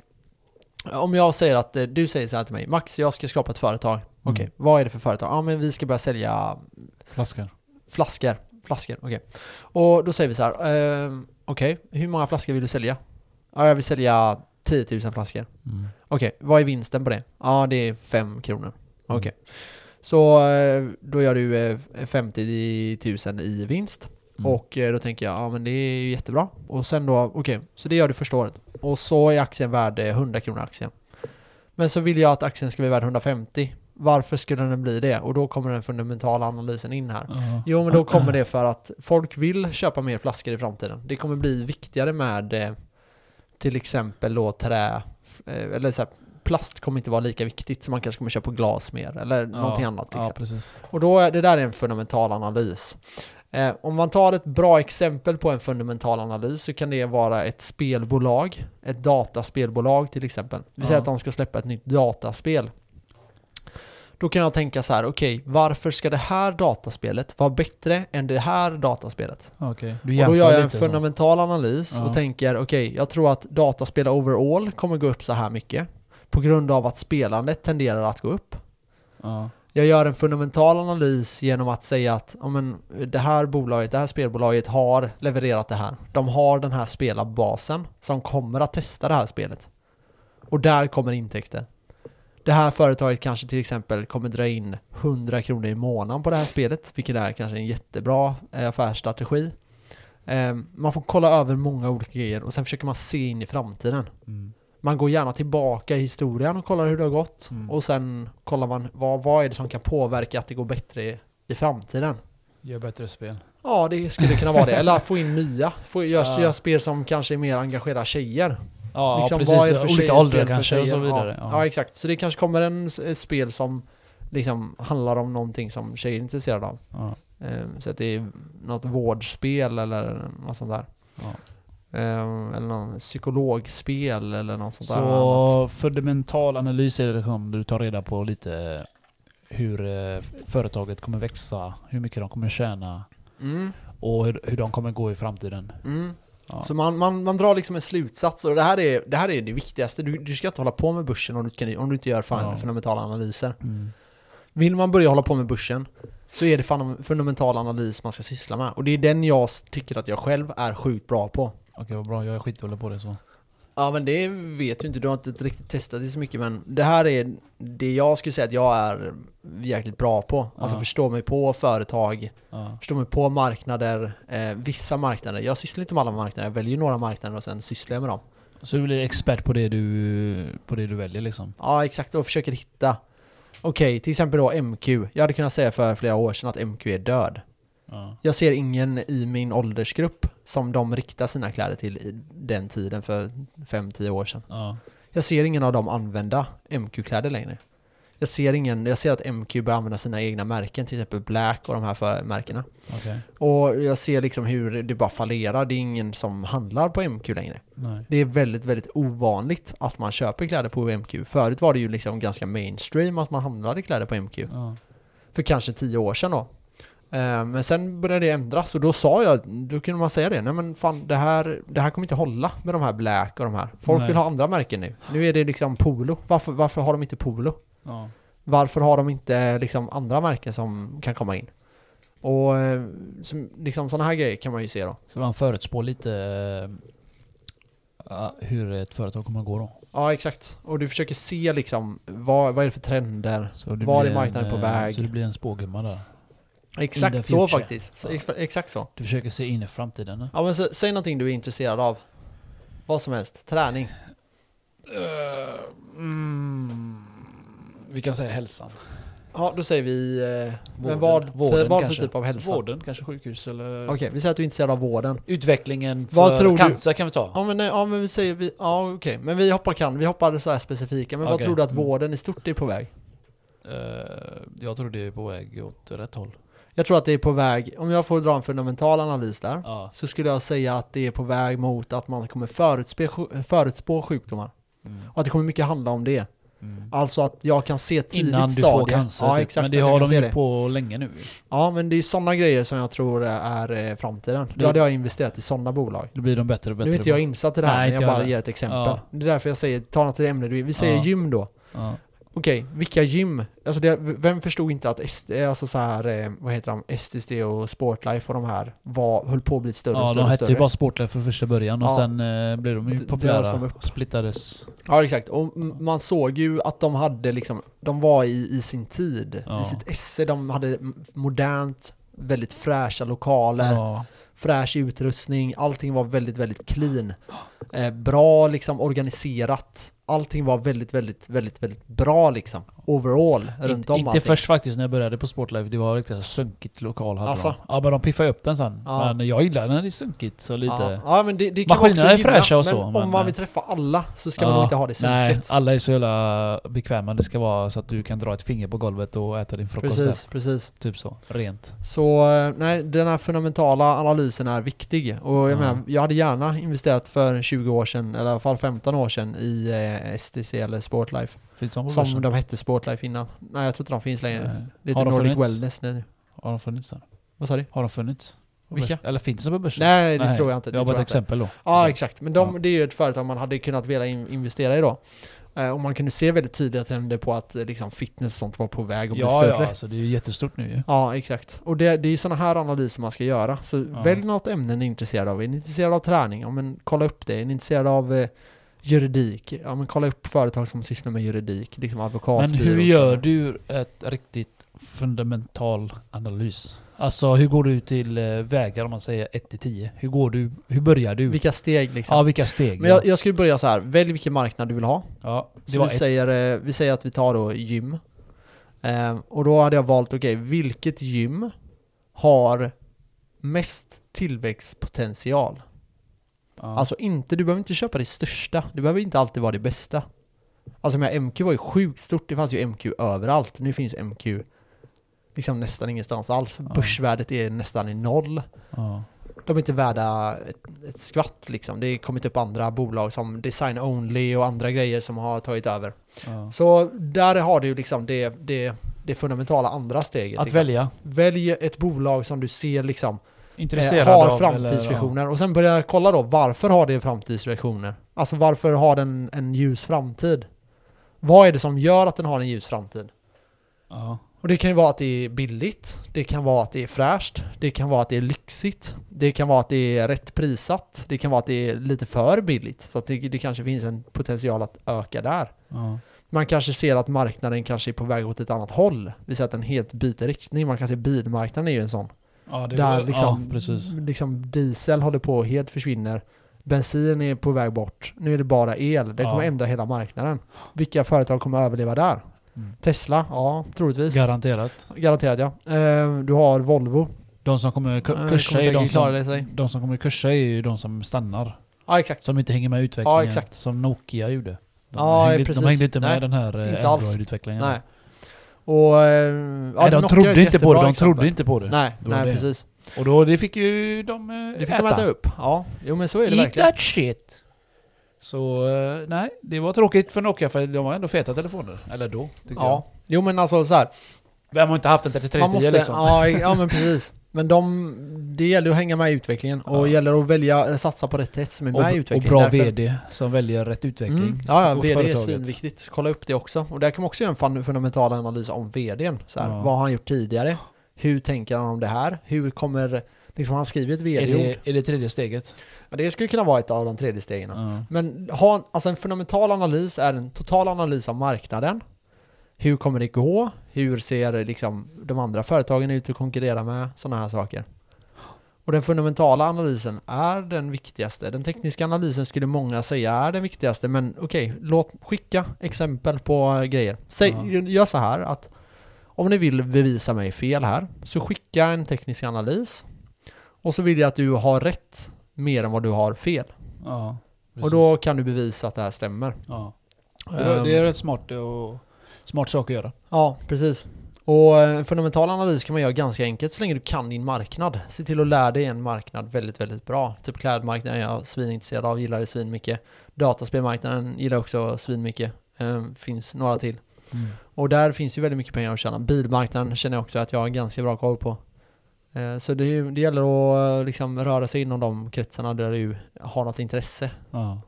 Speaker 2: Om jag säger att eh, du säger så här till mig, Max, jag ska skapa ett företag. Okej,
Speaker 1: Mm.
Speaker 2: vad är det för företag? Ja, men vi ska börja sälja
Speaker 1: Flaskor.
Speaker 2: Flaskor. Flaskor, okej. Och då säger vi så här. ehm, okej, hur många flaskor vill du sälja? Ja, jag vill sälja 10 000 flaskor.
Speaker 1: Mm.
Speaker 2: Okej, vad är vinsten på det? Ja, det är 5 kronor. Okej. Så eh, då gör du eh, 50 000 i vinst.
Speaker 1: Mm.
Speaker 2: Och eh, då tänker jag, ja men det är ju jättebra. Och sen då, okej, så det gör du första året. Och så är aktien värd eh, 100 kronor aktien. Men så vill jag att aktien ska bli värd 150. Varför skulle den bli det? Och då kommer den fundamentala analysen in här.
Speaker 1: Ja.
Speaker 2: Jo, men då kommer det för att folk vill köpa mer flaskor i framtiden. Det kommer bli viktigare med eh, till exempel då trä, f- eh, eller så här, plast kommer inte vara lika viktigt så man kanske kommer köpa glas mer eller någonting annat. Till
Speaker 1: Ja,
Speaker 2: exempel.
Speaker 1: precis.
Speaker 2: Och då, är- det där är en fundamental analys. Eh, om man tar ett bra exempel på en fundamental analys så kan det vara ett spelbolag, ett dataspelbolag till exempel. Vi säger
Speaker 1: Ja.
Speaker 2: att de ska släppa ett nytt dataspel. Då kan jag tänka så här, okej, varför ska det här dataspelet vara bättre än det här dataspelet?
Speaker 1: Ja, Okej. Du
Speaker 2: Och
Speaker 1: jämför
Speaker 2: då gör jag en
Speaker 1: lite så.
Speaker 2: fundamental analys
Speaker 1: Ja.
Speaker 2: och tänker, okej, jag tror att dataspel overall kommer gå upp så här mycket på grund av att spelandet tenderar att gå upp.
Speaker 1: Ja.
Speaker 2: Jag gör en fundamental analys genom att säga att ja, men, det här bolaget, det här spelbolaget har levererat det här. De har den här spelarbasen som kommer att testa det här spelet. Och där kommer intäkter. Det här företaget kanske till exempel kommer dra in 100 kronor i månaden på det här spelet, vilket är kanske en jättebra eh, affärsstrategi. Eh, Man får kolla över många olika grejer och sen försöker man se in i framtiden.
Speaker 1: Mm.
Speaker 2: Man går gärna tillbaka i historien och kollar hur det har gått.
Speaker 1: Mm.
Speaker 2: Och sen kollar man vad, vad är det som kan påverka att det går bättre i, i framtiden.
Speaker 1: Gör bättre spel.
Speaker 2: Ja, det skulle kunna vara det. Eller få in nya. Få, gör,
Speaker 1: Ja.
Speaker 2: gör spel som kanske är mer engagerar tjejer.
Speaker 1: Ja,
Speaker 2: Liksom,
Speaker 1: precis.
Speaker 2: vad är det för
Speaker 1: Olika
Speaker 2: tjejer, spel
Speaker 1: åldrar
Speaker 2: för
Speaker 1: kanske och så
Speaker 2: tjejer?
Speaker 1: vidare.
Speaker 2: Ja. Ja. exakt. Så det kanske kommer en s- ett spel som liksom handlar om någonting som tjejer är intresserade av. Ehm,
Speaker 1: Ja.
Speaker 2: Eh, Så att det är något vårdspel eller något sånt där.
Speaker 1: Ja.
Speaker 2: Eh, eller någon psykologspel eller något sånt där annat.
Speaker 1: Så fundamental analys är det liksom, du tar reda på lite hur eh, företaget kommer växa, hur mycket de kommer tjäna
Speaker 2: Mm,
Speaker 1: och hur, hur de kommer gå i framtiden.
Speaker 2: mm.
Speaker 1: Ja.
Speaker 2: Så man, man, man drar liksom en slutsats och det här är det, här är det viktigaste. Du, du ska inte hålla på med börsen om du, kan, om du inte gör fan
Speaker 1: Ja.
Speaker 2: fundamentala analyser.
Speaker 1: Mm.
Speaker 2: Vill man börja hålla på med börsen så är det fan fundamental analys man ska syssla med. Och det är den jag s- tycker att jag själv är sjukt bra på.
Speaker 1: Okej, vad bra. Jag är skitdålig på det så.
Speaker 2: Ja men det vet du inte, du har inte riktigt testat det så mycket men det här är det jag skulle säga att jag är jäkligt bra på. Alltså
Speaker 1: Ja.
Speaker 2: förstå mig på företag,
Speaker 1: Ja.
Speaker 2: förstå mig på marknader, eh, vissa marknader. Jag sysslar inte med alla marknader, jag väljer några marknader och sen sysslar jag med dem.
Speaker 1: Så du blir expert på det du, på det du väljer liksom?
Speaker 2: Ja exakt, och försöker hitta. Okej, till exempel då MQ. Jag hade kunnat säga för flera år sedan att MQ är död.
Speaker 1: Ja.
Speaker 2: Jag ser ingen i min åldersgrupp som de riktar sina kläder till i den tiden för 5-10 år sedan.
Speaker 1: Ja.
Speaker 2: Jag ser ingen av dem använda MQ-kläder längre. Jag ser, ingen, jag ser att MQ börjar använda sina egna märken, till exempel Black och de här för märkena.
Speaker 1: Okej.
Speaker 2: Och jag ser liksom hur det bara fallerar, det är ingen som handlar på MQ längre.
Speaker 1: Nej.
Speaker 2: Det är väldigt, väldigt ovanligt att man köper kläder på MQ. Förut var det ju liksom ganska mainstream att man handlade kläder på MQ
Speaker 1: Ja.
Speaker 2: för kanske tio år sedan då. Eh, Men sen började det ändras och då sa jag, då kunde man säga det, nej men fan det här, det här kommer inte hålla med de här Black och de här. Folk
Speaker 1: Nej.
Speaker 2: vill ha andra märken nu. Nu är det liksom Polo. Varför, varför har de inte Polo?
Speaker 1: Ja.
Speaker 2: Varför har de inte liksom andra märken som kan komma in? Och eh, som, liksom sådana här grejer kan man ju se då.
Speaker 1: Så man förutspår lite eh, ja, hur ett företag kommer att gå då.
Speaker 2: Ja exakt. Och du försöker se liksom, vad, vad är det för trender?
Speaker 1: Så det
Speaker 2: Var
Speaker 1: blir
Speaker 2: är marknaden
Speaker 1: en,
Speaker 2: på
Speaker 1: eh,
Speaker 2: väg?
Speaker 1: Så det blir en spågumma där. In
Speaker 2: Exakt
Speaker 1: the
Speaker 2: så
Speaker 1: future.
Speaker 2: faktiskt. Så,
Speaker 1: Ja.
Speaker 2: ex- Exakt så.
Speaker 1: Du försöker se in i framtiden.
Speaker 2: Ja men så, säg någonting du är intresserad av. Vad som helst. Träning.
Speaker 1: Eh, mm, vi kan säga hälsan.
Speaker 2: Ja, då säger vi... Eh,
Speaker 1: Vården.
Speaker 2: men vad,
Speaker 1: Vården
Speaker 2: vad för
Speaker 1: kanske.
Speaker 2: typ av hälsa?
Speaker 1: Vården, kanske sjukhus eller...
Speaker 2: Okej, vi säger att du är intresserad av vården.
Speaker 1: Utvecklingen för
Speaker 2: Vad tror du-
Speaker 1: cancer kan vi ta.
Speaker 2: Ja men, nej, ja, men vi säger... Vi, ja, okej. Men vi hoppar kan. Vi hoppar så här specifika. Men vad
Speaker 1: Okej.
Speaker 2: tror du att
Speaker 1: Mm.
Speaker 2: vården i stort är på väg?
Speaker 1: Eh, jag tror det är på väg åt rätt håll.
Speaker 2: Jag tror att det är på väg... Om jag får dra en fundamental analys där.
Speaker 1: Ja.
Speaker 2: Så skulle jag säga att det är på väg mot att man kommer förutspå, förutspå sjukdomar.
Speaker 1: Mm.
Speaker 2: Och att det kommer mycket handla om det.
Speaker 1: Mm.
Speaker 2: Alltså att jag kan se tidigt
Speaker 1: Innan du
Speaker 2: stadie.
Speaker 1: får cancer.
Speaker 2: ja,
Speaker 1: typ.
Speaker 2: exakt,
Speaker 1: Men det
Speaker 2: att jag
Speaker 1: har de
Speaker 2: kan se
Speaker 1: gjort
Speaker 2: det.
Speaker 1: på länge nu.
Speaker 2: Ja, men det är sådana grejer som jag tror är eh, framtiden. Då
Speaker 1: Det-
Speaker 2: hade jag investerat i sådana bolag.
Speaker 1: Då blir de bättre och bättre.
Speaker 2: Nu är inte jag insatt i det
Speaker 1: Nej,
Speaker 2: här, men
Speaker 1: inte
Speaker 2: jag
Speaker 1: jag
Speaker 2: bara
Speaker 1: heller.
Speaker 2: ger ett exempel.
Speaker 1: Ja.
Speaker 2: Det är därför jag säger, ta något ämne du vill. Vi säger
Speaker 1: Ja.
Speaker 2: gym då.
Speaker 1: Ja.
Speaker 2: Okej, vilka gym? Alltså det, vem förstod inte att ST, alltså så här, eh, vad heter de, STST och Sportlife och de här var, höll på att bli större och
Speaker 1: Ja,
Speaker 2: större.
Speaker 1: de
Speaker 2: och
Speaker 1: hette
Speaker 2: större.
Speaker 1: ju bara Sportlife från första början och
Speaker 2: Ja.
Speaker 1: sen eh, blev de
Speaker 2: D-
Speaker 1: ju
Speaker 2: det lades de
Speaker 1: populära.
Speaker 2: upp.
Speaker 1: och Splittades.
Speaker 2: Ja, exakt. Och m- man såg ju att de hade liksom, de var i, i sin tid,
Speaker 1: Ja.
Speaker 2: i sitt esse. De hade m- modernt, väldigt fräscha lokaler.
Speaker 1: Ja.
Speaker 2: fräsch utrustning, allting var väldigt, väldigt clean. Eh, bra liksom organiserat. Allting var väldigt, väldigt, väldigt, väldigt bra liksom. Overall, runt
Speaker 1: Inte,
Speaker 2: om
Speaker 1: inte
Speaker 2: allting.
Speaker 1: först faktiskt när jag började på Sportlife, det var riktigt sunkigt lokal hade
Speaker 2: Alltså.
Speaker 1: de. Ja men de piffade upp den sen.
Speaker 2: Ja.
Speaker 1: Men jag gillar när det är sunkigt så lite.
Speaker 2: Ja, ja, men det, det kan
Speaker 1: Maskinerna
Speaker 2: också
Speaker 1: är
Speaker 2: gilla,
Speaker 1: fräscha och
Speaker 2: men
Speaker 1: så,
Speaker 2: Om
Speaker 1: men- eh,
Speaker 2: man vill träffa alla så ska man
Speaker 1: Ja,
Speaker 2: nog inte ha det
Speaker 1: Nej,
Speaker 2: sunket.
Speaker 1: alla är så jävla bekväma. Det ska vara så att du kan dra ett finger på golvet och äta din frukost
Speaker 2: Precis, precis.
Speaker 1: där. Typ så. Rent.
Speaker 2: Så eh, nej, den här fundamentala analysen är viktig. Och jag
Speaker 1: Ja.
Speaker 2: menar, jag hade gärna investerat för 20 år sedan, eller i alla fall 15 år sedan, i eh, STC eller Sportlife.
Speaker 1: Finns de på
Speaker 2: Som
Speaker 1: börsen?
Speaker 2: de hette Sportlife innan. Nej, jag tror inte de finns längre.
Speaker 1: Nej.
Speaker 2: Det
Speaker 1: Har
Speaker 2: heter
Speaker 1: de
Speaker 2: Nordic
Speaker 1: funnits?
Speaker 2: Wellness nu.
Speaker 1: Har de funnits där?
Speaker 2: Vad sa du?
Speaker 1: Har de funnits? på
Speaker 2: Vilka?
Speaker 1: börsen? Eller finns de på börsen?
Speaker 2: Nej, det tror jag inte.
Speaker 1: Det var
Speaker 2: tror
Speaker 1: bara ett
Speaker 2: jag inte.
Speaker 1: exempel då.
Speaker 2: Ja, exakt. Men de,
Speaker 1: Ja.
Speaker 2: det är ju ett företag man hade kunnat vilja in, investera i då. Eh, och man kunde se väldigt tydliga trender på att eh, liksom, fitness och sånt var på väg att bli
Speaker 1: Ja,
Speaker 2: större.
Speaker 1: ja,
Speaker 2: Ja.
Speaker 1: alltså det är ju jättestort nu ju.
Speaker 2: exakt. Och det, det är sådana här analyser man ska göra. Så
Speaker 1: Ja.
Speaker 2: välj något ämne ni är intresserade av. Är ni intresserade av träning? Ja, men kolla upp det. Är ni intresserade av eh, juridik? Ja, men kolla upp företag som sysslar med juridik. Liksom
Speaker 1: Men
Speaker 2: advokatsbyråer.
Speaker 1: hur
Speaker 2: och
Speaker 1: gör
Speaker 2: sådär.
Speaker 1: du ett riktigt fundamental analys? Alltså hur går du till eh, vägar om man säger 1 till 10? Hur går du? Hur börjar du?
Speaker 2: Vilka steg liksom?
Speaker 1: ja, vilka steg?
Speaker 2: Men
Speaker 1: ja.
Speaker 2: jag, jag skulle börja så här. Välj vilken marknad du vill ha.
Speaker 1: ja, det
Speaker 2: Så
Speaker 1: var
Speaker 2: vi
Speaker 1: ett.
Speaker 2: säger, eh, vi säger att vi tar då gym. Ehm, och då hade jag valt, okej, vilket gym har mest tillväxtpotential?
Speaker 1: ja.
Speaker 2: Alltså inte, du behöver inte köpa det största. Det behöver inte alltid vara det bästa. Alltså men MQ var ju sjukt stort. Det fanns ju MQ överallt. Nu finns MQ liksom nästan ingenstans alls.
Speaker 1: Ja.
Speaker 2: Börsvärdet är nästan i noll.
Speaker 1: ja.
Speaker 2: de är inte värda ett, ett skvatt liksom. Det har kommit upp andra bolag som Design Only och andra grejer som har tagit över.
Speaker 1: Ja.
Speaker 2: Så där har du ju liksom det, det, det fundamentala andra steget.
Speaker 1: Att
Speaker 2: liksom.
Speaker 1: välja.
Speaker 2: Välj ett bolag som du ser liksom eh,
Speaker 1: Intresserad
Speaker 2: har
Speaker 1: av,
Speaker 2: framtidsvisioner.
Speaker 1: eller,
Speaker 2: Och sen börjar jag kolla då, varför har det framtidsvisioner? Alltså varför har den en ljus framtid? Vad är det som gör att den har en ljus framtid?
Speaker 1: ja.
Speaker 2: Och det kan ju vara att det är billigt, det kan vara att det är fräscht, det kan vara att det är lyxigt, det kan vara att det är rätt prissatt, det kan vara att det är lite för billigt. Så att det, det kanske finns en potential att öka där.
Speaker 1: Ja.
Speaker 2: Man kanske ser att marknaden kanske är på väg åt ett annat håll. Vi ser att den helt byter riktning. Man kan se bilmarknaden är ju en sån
Speaker 1: Ja, det,
Speaker 2: där
Speaker 1: ja,
Speaker 2: liksom,
Speaker 1: precis.
Speaker 2: liksom diesel håller på att helt försvinner. Bensin är på väg bort. Nu är det bara el. Det
Speaker 1: Ja.
Speaker 2: kommer ändra hela marknaden. Vilka företag kommer överleva där?
Speaker 1: Mm.
Speaker 2: Tesla? Ja, troligtvis.
Speaker 1: Garanterat.
Speaker 2: Garanterat ja. Eh, Du har Volvo.
Speaker 1: De som kommer
Speaker 2: Ja,
Speaker 1: ku-
Speaker 2: det
Speaker 1: kursa
Speaker 2: Mm, kommer
Speaker 1: är de
Speaker 2: säkert klara det
Speaker 1: som,
Speaker 2: sig.
Speaker 1: de som kommer kursa är ju de som stannar.
Speaker 2: Ja, exakt.
Speaker 1: Som inte hänger med i utvecklingen.
Speaker 2: Ja, exakt.
Speaker 1: Som Nokia gjorde. De,
Speaker 2: Ja,
Speaker 1: hängde, inte-
Speaker 2: precis.
Speaker 1: de hängde inte med
Speaker 2: Nej,
Speaker 1: i den här eh,
Speaker 2: inte alls.
Speaker 1: Android-utvecklingen.
Speaker 2: Nej. Och... eh, ja,
Speaker 1: Nej, de
Speaker 2: Nokia är
Speaker 1: trodde
Speaker 2: ett
Speaker 1: inte på det.
Speaker 2: jättebra
Speaker 1: De trodde
Speaker 2: exempel.
Speaker 1: inte på det.
Speaker 2: Nej,
Speaker 1: Det var
Speaker 2: nej
Speaker 1: det.
Speaker 2: precis.
Speaker 1: Och då det fick ju de eh,
Speaker 2: Det fick de äta upp. Ja, jo men så är det
Speaker 1: Eat
Speaker 2: verkligen.
Speaker 1: that shit! Så eh, nej, det var tråkigt för Nokia för de var ändå feta telefoner. Eller då, tycker jag.
Speaker 2: Ja. Jo men alltså så här.
Speaker 1: Vem har inte haft en 3310
Speaker 2: Man måste,
Speaker 1: liksom?
Speaker 2: ja, ja men precis. Men de, det gäller att hänga med i utvecklingen och
Speaker 1: Ja.
Speaker 2: gäller att välja, eh, satsa på rätt test som är med i
Speaker 1: och, och
Speaker 2: utvecklingen.
Speaker 1: bra
Speaker 2: Därför-
Speaker 1: VD som väljer rätt utveckling.
Speaker 2: Mm. Ja, ja,
Speaker 1: åt
Speaker 2: vd är
Speaker 1: företaget.
Speaker 2: svinviktigt. Kolla upp det också. Och där kan man också göra en fan- fundamental analys om vdn. Så här,
Speaker 1: Ja.
Speaker 2: Vad har han gjort tidigare? Hur tänker han om det här? Hur kommer, liksom han skriver ett
Speaker 1: Är,
Speaker 2: vd-ord.
Speaker 1: det, är det tredje steget?
Speaker 2: Ja, det skulle kunna vara ett av de tredje stegen.
Speaker 1: Ja.
Speaker 2: Men ha, en- alltså en fundamental analys är en total analys av marknaden. Hur kommer det gå? Hur ser liksom de andra företagen ut att konkurrera med? Sådana här saker. Och den fundamentala analysen är den viktigaste. Den tekniska analysen skulle många säga är den viktigaste, men okej, låt skicka exempel på eh, grejer. Säg,
Speaker 1: Ja.
Speaker 2: Gör så här att om ni vill bevisa mig fel här, så skicka en teknisk analys. Och så vill jag att du har rätt mer än vad du har fel.
Speaker 1: Ja,
Speaker 2: Och
Speaker 1: precis.
Speaker 2: då Ehm. kan du bevisa att det här stämmer.
Speaker 1: ja. det, är- det är rätt smart, och, smart sak att göra.
Speaker 2: Ja, precis. Och eh, fundamental analys kan man göra ganska enkelt så länge du kan din marknad. Se till att lära dig en marknad väldigt, väldigt bra. Typ klädmarknaden är jag svinintresserad av, gillar det svinmycket. Dataspelmarknaden gillar jag också svinmycket. Eh, Finns några till. Och där finns ju väldigt mycket pengar att tjäna. Bilmarknaden känner jag också att jag har ganska bra koll på. Eh, Så det, är ju- det gäller att eh, liksom röra sig inom de kretsarna där du har något intresse.
Speaker 1: Ja.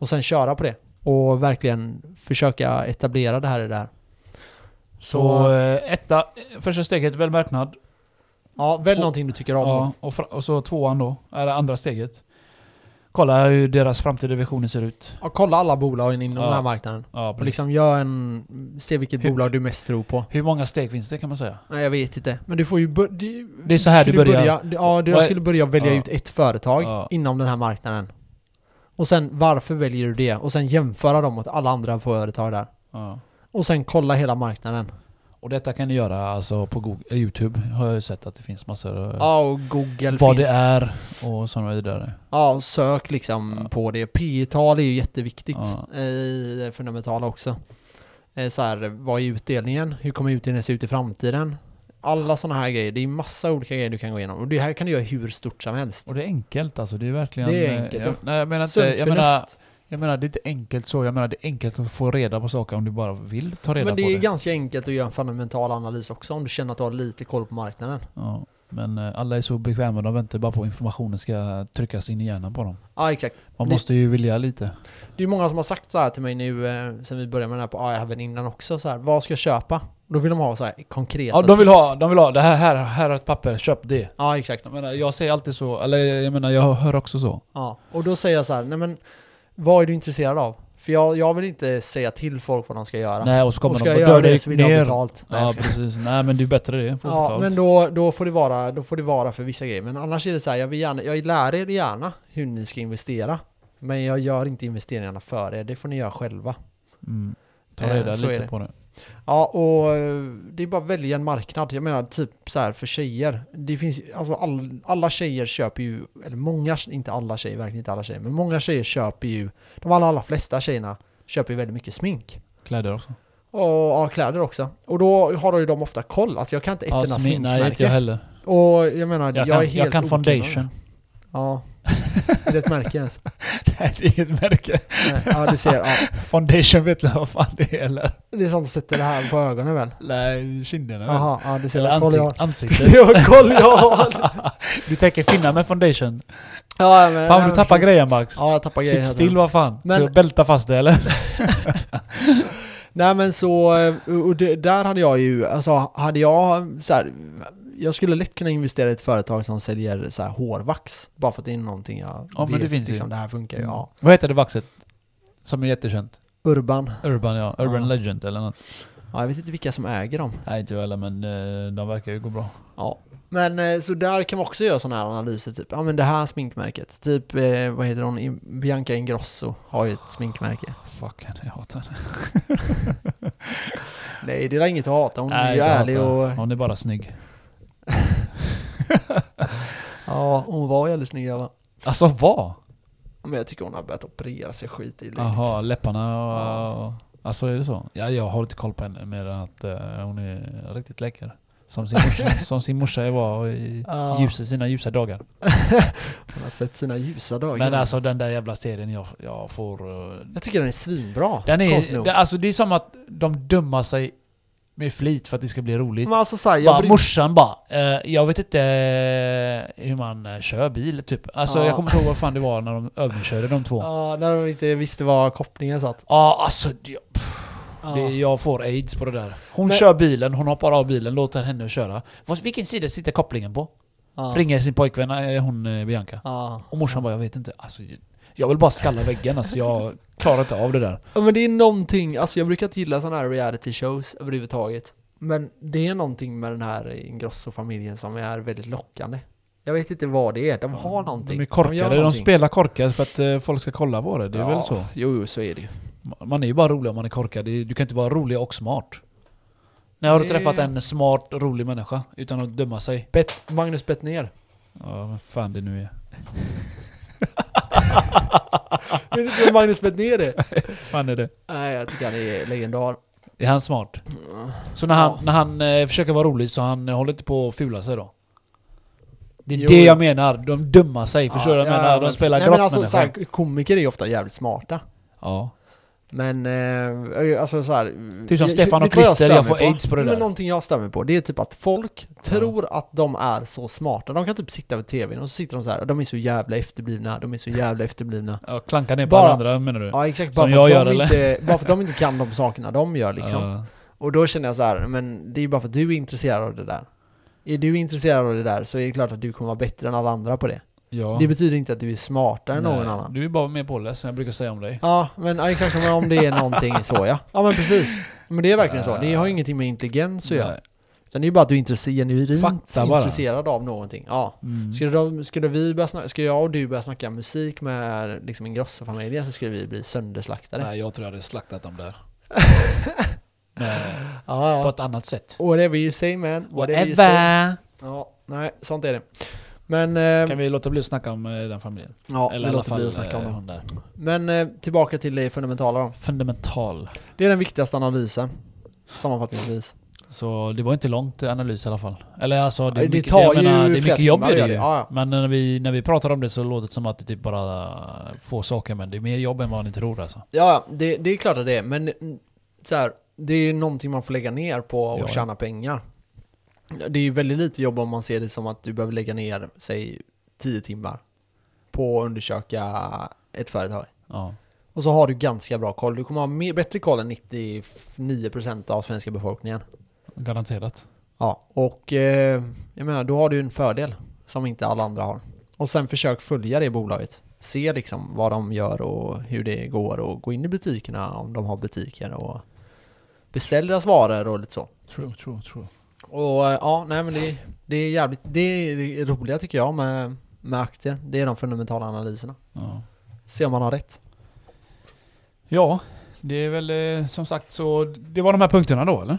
Speaker 2: Och sen köra på det. Och verkligen försöka etablera det här i det här.
Speaker 1: Så eh, etta, första steget, väl marknad.
Speaker 2: Ja, välj
Speaker 1: Två-
Speaker 2: någonting du tycker om.
Speaker 1: Ja, och, fra- och så tvåan då, eller andra steget. Kolla hur deras framtida visioner ser ut.
Speaker 2: Och kolla alla bolagen inom
Speaker 1: Ja.
Speaker 2: den här marknaden.
Speaker 1: Ja,
Speaker 2: Och
Speaker 1: precis.
Speaker 2: liksom gör en... Se vilket
Speaker 1: Hur-
Speaker 2: bolag du mest tror på.
Speaker 1: Hur många steg finns det kan man säga?
Speaker 2: Nej, jag vet inte. Men du får ju... bör- Du,
Speaker 1: Det är så här du
Speaker 2: skulle
Speaker 1: börjar.
Speaker 2: börja- ja, du,
Speaker 1: Vad
Speaker 2: jag
Speaker 1: är-
Speaker 2: skulle börja välja
Speaker 1: Ja.
Speaker 2: ut ett företag
Speaker 1: Ja.
Speaker 2: inom den här marknaden. Och sen varför väljer du det? Och sen jämföra dem mot alla andra företag där.
Speaker 1: Ja.
Speaker 2: Och sen kolla hela marknaden.
Speaker 1: Och detta kan ni göra alltså på Google, YouTube har jag ju sett att det finns massor. eh,
Speaker 2: Ja, och Google
Speaker 1: vad
Speaker 2: finns.
Speaker 1: det är och sådana vidare.
Speaker 2: Ja, och sök liksom
Speaker 1: Ja.
Speaker 2: på det. P-tal är ju jätteviktigt
Speaker 1: Ja.
Speaker 2: i det fundamentala också. Eh, Så här, vad är utdelningen? Hur kommer utdelningen se ut i framtiden? Alla sådana här grejer. Det är massa olika grejer du kan gå igenom. Och det här kan du göra hur stort som helst.
Speaker 1: Och det är enkelt alltså, det är verkligen...
Speaker 2: Det är enkelt,
Speaker 1: eh, Jag, nej, jag, menar inte,
Speaker 2: Sunt
Speaker 1: jag, menar,
Speaker 2: förnuft.
Speaker 1: jag menar, det är inte enkelt så. Jag menar, det är enkelt att få reda på saker om du bara vill ta reda
Speaker 2: Men det
Speaker 1: på
Speaker 2: är
Speaker 1: det.
Speaker 2: ganska enkelt att göra en fundamental analys också om du känner att du har lite koll på marknaden.
Speaker 1: Ja, men eh, alla är så bekväma, de väntar bara på att informationen ska tryckas in i hjärnan på dem.
Speaker 2: Ja, exakt.
Speaker 1: Man
Speaker 2: Det-
Speaker 1: måste ju vilja lite.
Speaker 2: Det är många som har sagt så här till mig nu eh, sen vi började med den här på AI även innan också. Så här, vad ska jag köpa? Då vill de ha så här konkreta
Speaker 1: Ja, de vill
Speaker 2: tips.
Speaker 1: ha, de vill ha, det här, här, här är ett papper, köp det.
Speaker 2: Ja, exakt.
Speaker 1: Jag menar, jag säger alltid så, eller jag menar, jag hör också så.
Speaker 2: Ja, och då säger jag så här, nej men vad är du intresserad av? För jag, jag vill inte säga till folk vad de ska göra.
Speaker 1: Nej, och så kommer
Speaker 2: och ska
Speaker 1: de
Speaker 2: jag
Speaker 1: på
Speaker 2: göra
Speaker 1: dörren
Speaker 2: det så vill jag ha
Speaker 1: ner.
Speaker 2: betalt. Nej,
Speaker 1: Ja,
Speaker 2: jag ska-
Speaker 1: precis. Nej, men det är bättre det. Få
Speaker 2: ja
Speaker 1: betalt.
Speaker 2: men då, då, får det vara, då får det vara för vissa grejer. Men annars är det så här, jag, vill gärna, jag lär er gärna hur ni ska investera. Men jag gör inte investeringarna för er, det får ni göra själva.
Speaker 1: Mm. Ta
Speaker 2: Eh,
Speaker 1: reda
Speaker 2: så är
Speaker 1: lite
Speaker 2: det.
Speaker 1: på det.
Speaker 2: Ja, och eh, det är bara att välja en marknad. Jag menar, typ så här för tjejer. Det finns ju- alltså all, alla tjejer köper ju, eller många, inte alla tjejer, verkligen inte alla tjejer, men många tjejer köper ju, de allra, allra flesta tjejerna köper ju väldigt mycket smink.
Speaker 1: Kläder också.
Speaker 2: Och ja, kläder också. Och då har ju de ofta koll. Alltså jag kan inte ett
Speaker 1: Ja,
Speaker 2: enda
Speaker 1: smin- nej, inte jag
Speaker 2: sminkmärke.
Speaker 1: heller.
Speaker 2: Och jag menar,
Speaker 1: Jag
Speaker 2: jag är
Speaker 1: kan,
Speaker 2: helt
Speaker 1: jag kan
Speaker 2: okunnande.
Speaker 1: foundation.
Speaker 2: Ja. Är det ett märke ens?
Speaker 1: Nej, det är inget märke.
Speaker 2: Nej. Ja, du ser. Ja.
Speaker 1: Foundation vet jag vad fan det är eller?
Speaker 2: Det är sånt som sätter det här på ögonen väl?
Speaker 1: Nej, kinderna väl?
Speaker 2: Jaha, ja du ser.
Speaker 1: Eller
Speaker 2: vad koll jag har.
Speaker 1: ansikt, ansiktet.
Speaker 2: Se vad koll jag har!
Speaker 1: Du tänker finna med foundation.
Speaker 2: Ja, men,
Speaker 1: Fan du tappar grejen Max.
Speaker 2: Ja, jag tappar grejen.
Speaker 1: Sitt still vad fan.
Speaker 2: Men-
Speaker 1: Ska jag bälta fast det eller?
Speaker 2: Nej men så, eh, och det, där hade jag ju, alltså hade jag så här, jag skulle lätt kunna investera i ett företag som säljer så här hårvax, bara för att det är någonting jag
Speaker 1: Ja, men
Speaker 2: vet,
Speaker 1: det finns ju. Mm.
Speaker 2: liksom, det här funkar ju. Ja.
Speaker 1: Vad heter det vaxet? Som är jättekänt.
Speaker 2: Urban,
Speaker 1: Urban ja. Urban
Speaker 2: Ja.
Speaker 1: Legend eller något.
Speaker 2: ja, jag vet inte vilka som äger dem.
Speaker 1: Nej inte jag heller men eh, de verkar ju gå bra.
Speaker 2: Ja. Men eh, så där kan man också göra sådana här analyser, typ, ja men det här sminkmärket, typ, eh, vad heter hon, In- Bianca Ingrosso har ju ett sminkmärke.
Speaker 1: Fuck henne, jag hatar henne.
Speaker 2: Nej det är inget att hata, hon är
Speaker 1: Nej,
Speaker 2: ju
Speaker 1: jag hatar
Speaker 2: ärlig
Speaker 1: henne.
Speaker 2: och,
Speaker 1: Hon är bara snygg.
Speaker 2: ja hon var jävligt snygg jag var.
Speaker 1: Alltså vad?
Speaker 2: Men jag tycker hon har börjat operera sig skit i
Speaker 1: Jaha, läpparna och...
Speaker 2: Ja.
Speaker 1: Alltså är det så? Ja, jag har inte koll på henne mer än att eh, hon är en riktigt läcker. Som sin morsa, som sin morsa var i
Speaker 2: Ja.
Speaker 1: ljusa, sina ljusa dagar.
Speaker 2: Hon har sett sina ljusa dagar.
Speaker 1: Men alltså den där jävla serien jag, jag får... eh,
Speaker 2: jag tycker den är svinbra.
Speaker 1: Den
Speaker 2: konstigt
Speaker 1: är,
Speaker 2: nog.
Speaker 1: det, alltså det är som att de dummar sig med flit för att det ska bli roligt.
Speaker 2: Men alltså såhär,
Speaker 1: Bara,
Speaker 2: jag bryr
Speaker 1: morsan bara, eh, jag vet inte eh, hur man eh, kör bil typ. Alltså
Speaker 2: Ja.
Speaker 1: jag kommer inte ihåg vad fan det var när de övningskörde de två. Ja,
Speaker 2: Ja, när de inte visste var kopplingen satt.
Speaker 1: alltså det,
Speaker 2: Ja.
Speaker 1: det, jag får aids på det där. Hon
Speaker 2: Men-
Speaker 1: kör bilen, hon hoppar av bilen, låter henne köra. Vad- Vilken sida sitter kopplingen på?
Speaker 2: ja.
Speaker 1: Ringer sin pojkvän, eh, hon eh, Bianca.
Speaker 2: Ja.
Speaker 1: Och morsan bara, jag vet inte. Alltså, jag vill bara skalla väggen alltså, jag klarar inte av det där.
Speaker 2: ja, men det är någonting, alltså jag brukar inte gilla sådana här reality shows överhuvudtaget. Men det är någonting med den här Ingrosso-familjen som är väldigt lockande. Jag vet inte vad det är, de har någonting.
Speaker 1: De är korkade, de,
Speaker 2: någonting.
Speaker 1: spelar korkat för att eh, folk ska kolla på det. Det är
Speaker 2: Ja,
Speaker 1: väl så?
Speaker 2: Jo, jo, så är det ju.
Speaker 1: Ma- Man är ju bara rolig om man är korkad. Det är- Du kan inte vara rolig och smart. När har du
Speaker 2: Det-
Speaker 1: träffat en smart, rolig människa utan att döma sig?
Speaker 2: Bet- Magnus Bettner.
Speaker 1: Ja, vad fan det nu är.
Speaker 2: Vet du inte vem Magnus Bettner är?
Speaker 1: fan är det?
Speaker 2: Nej, jag tycker han är legendar.
Speaker 1: Är han smart? Så när han,
Speaker 2: Ja.
Speaker 1: när han eh, försöker vara rolig så han eh, håller inte på att fula sig då? Det är
Speaker 2: Jo.
Speaker 1: det jag menar. De dummar sig. Förstår du vad jag menar? De
Speaker 2: men-
Speaker 1: spelar
Speaker 2: Nej,
Speaker 1: grått
Speaker 2: men alltså, så
Speaker 1: människa.
Speaker 2: här, komiker är ju ofta jävligt smarta.
Speaker 1: Ja.
Speaker 2: Men eh, alltså så här,
Speaker 1: Typ som
Speaker 2: jag-
Speaker 1: Stefan och
Speaker 2: vet du vad
Speaker 1: Christer,
Speaker 2: stör
Speaker 1: jag
Speaker 2: mig
Speaker 1: får aids på det där.
Speaker 2: Men någonting jag stämmer på, det är typ att folk tror att de är så smarta. De kan typ sitta vid tvn och så sitter de så här, de är så jävla efterblivna, de är så jävla efterblivna.
Speaker 1: ja klanka ner på
Speaker 2: Bara-
Speaker 1: alla andra menar du?
Speaker 2: Ja exakt,
Speaker 1: Som
Speaker 2: bara för,
Speaker 1: jag
Speaker 2: att
Speaker 1: gör,
Speaker 2: de
Speaker 1: eller?
Speaker 2: inte, bara för att de inte kan de sakerna de gör liksom.
Speaker 1: Ja.
Speaker 2: Och då känner jag så här, men det är ju bara för att du är intresserad av det där. Är du intresserad av det där så är det klart att du kommer vara bättre än alla andra på det.
Speaker 1: ja.
Speaker 2: Det betyder inte att du är smartare än någon
Speaker 1: Nej,
Speaker 2: annan.
Speaker 1: Du är bara mer påläst som jag brukar säga om dig.
Speaker 2: Ja, men ja, exakt men om det är någonting så ja. Ja men precis. Men det är verkligen så. Det har ju ingenting med intelligens att göra.
Speaker 1: Eh. Nej.
Speaker 2: Utan det är ju bara att du är intresse- genuint
Speaker 1: Fakta bara.
Speaker 2: intresserad av någonting. Ja.
Speaker 1: Mm.
Speaker 2: Skulle, de, skulle, vi börja snacka, skulle jag och du börja snacka musik med liksom Ingrosso-familjen så skulle vi bli sönderslaktade.
Speaker 1: Nej, jag tror jag hade slaktat dem där. Men
Speaker 2: Ja,
Speaker 1: på
Speaker 2: ja.
Speaker 1: ett annat sätt.
Speaker 2: Whatever you say man. Whatever you say.
Speaker 1: Whatever!
Speaker 2: Ja, nej, sånt är det. Men, eh,
Speaker 1: Kan vi låta bli att snacka om eh, den familjen?
Speaker 2: ja,
Speaker 1: Eller
Speaker 2: vi
Speaker 1: i alla
Speaker 2: låter
Speaker 1: fall
Speaker 2: bli att snacka om
Speaker 1: eh,
Speaker 2: det.
Speaker 1: hon där.
Speaker 2: Men eh, tillbaka till det fundamentala då.
Speaker 1: Fundamental.
Speaker 2: Det är den viktigaste analysen. Sammanfattningsvis.
Speaker 1: Så det var inte långt eh, analys i alla fall. Eller alltså, det, är
Speaker 2: Det
Speaker 1: mycket,
Speaker 2: tar
Speaker 1: jag
Speaker 2: ju
Speaker 1: menar, det är
Speaker 2: flera
Speaker 1: mycket jobb
Speaker 2: timmar
Speaker 1: är det
Speaker 2: att
Speaker 1: ju.
Speaker 2: göra det. Ja, ja.
Speaker 1: Men när vi, när vi pratar om det så låter det som att det typ bara få saker. Men det är mer jobb än vad ni tror alltså.
Speaker 2: Ja, ja, det, det är klart att det är, men mm, så här, det är ju någonting man får lägga ner på och
Speaker 1: Ja.
Speaker 2: tjäna pengar. Det är ju väldigt lite jobb om man ser det som att du behöver lägga ner, säg, 10 timmar på att undersöka ett företag.
Speaker 1: Ja.
Speaker 2: Och så har du ganska bra koll. Du kommer ha mer, bättre koll än 99% av svenska befolkningen.
Speaker 1: Garanterat.
Speaker 2: Ja, och eh, jag menar, då har du ju en fördel som inte alla andra har. Och sen försök följa det bolaget. Se liksom vad de gör och hur det går och gå in i butikerna om de har butiker och beställ deras varor och lite så.
Speaker 1: True, true, true.
Speaker 2: Och eh, ja, nej men det, det är jävligt, det är det roliga tycker jag med, med aktier. Det är de fundamentala analyserna.
Speaker 1: Ja.
Speaker 2: Se om man har rätt.
Speaker 1: ja, det är väl eh, som sagt så. Det var de här punkterna då eller?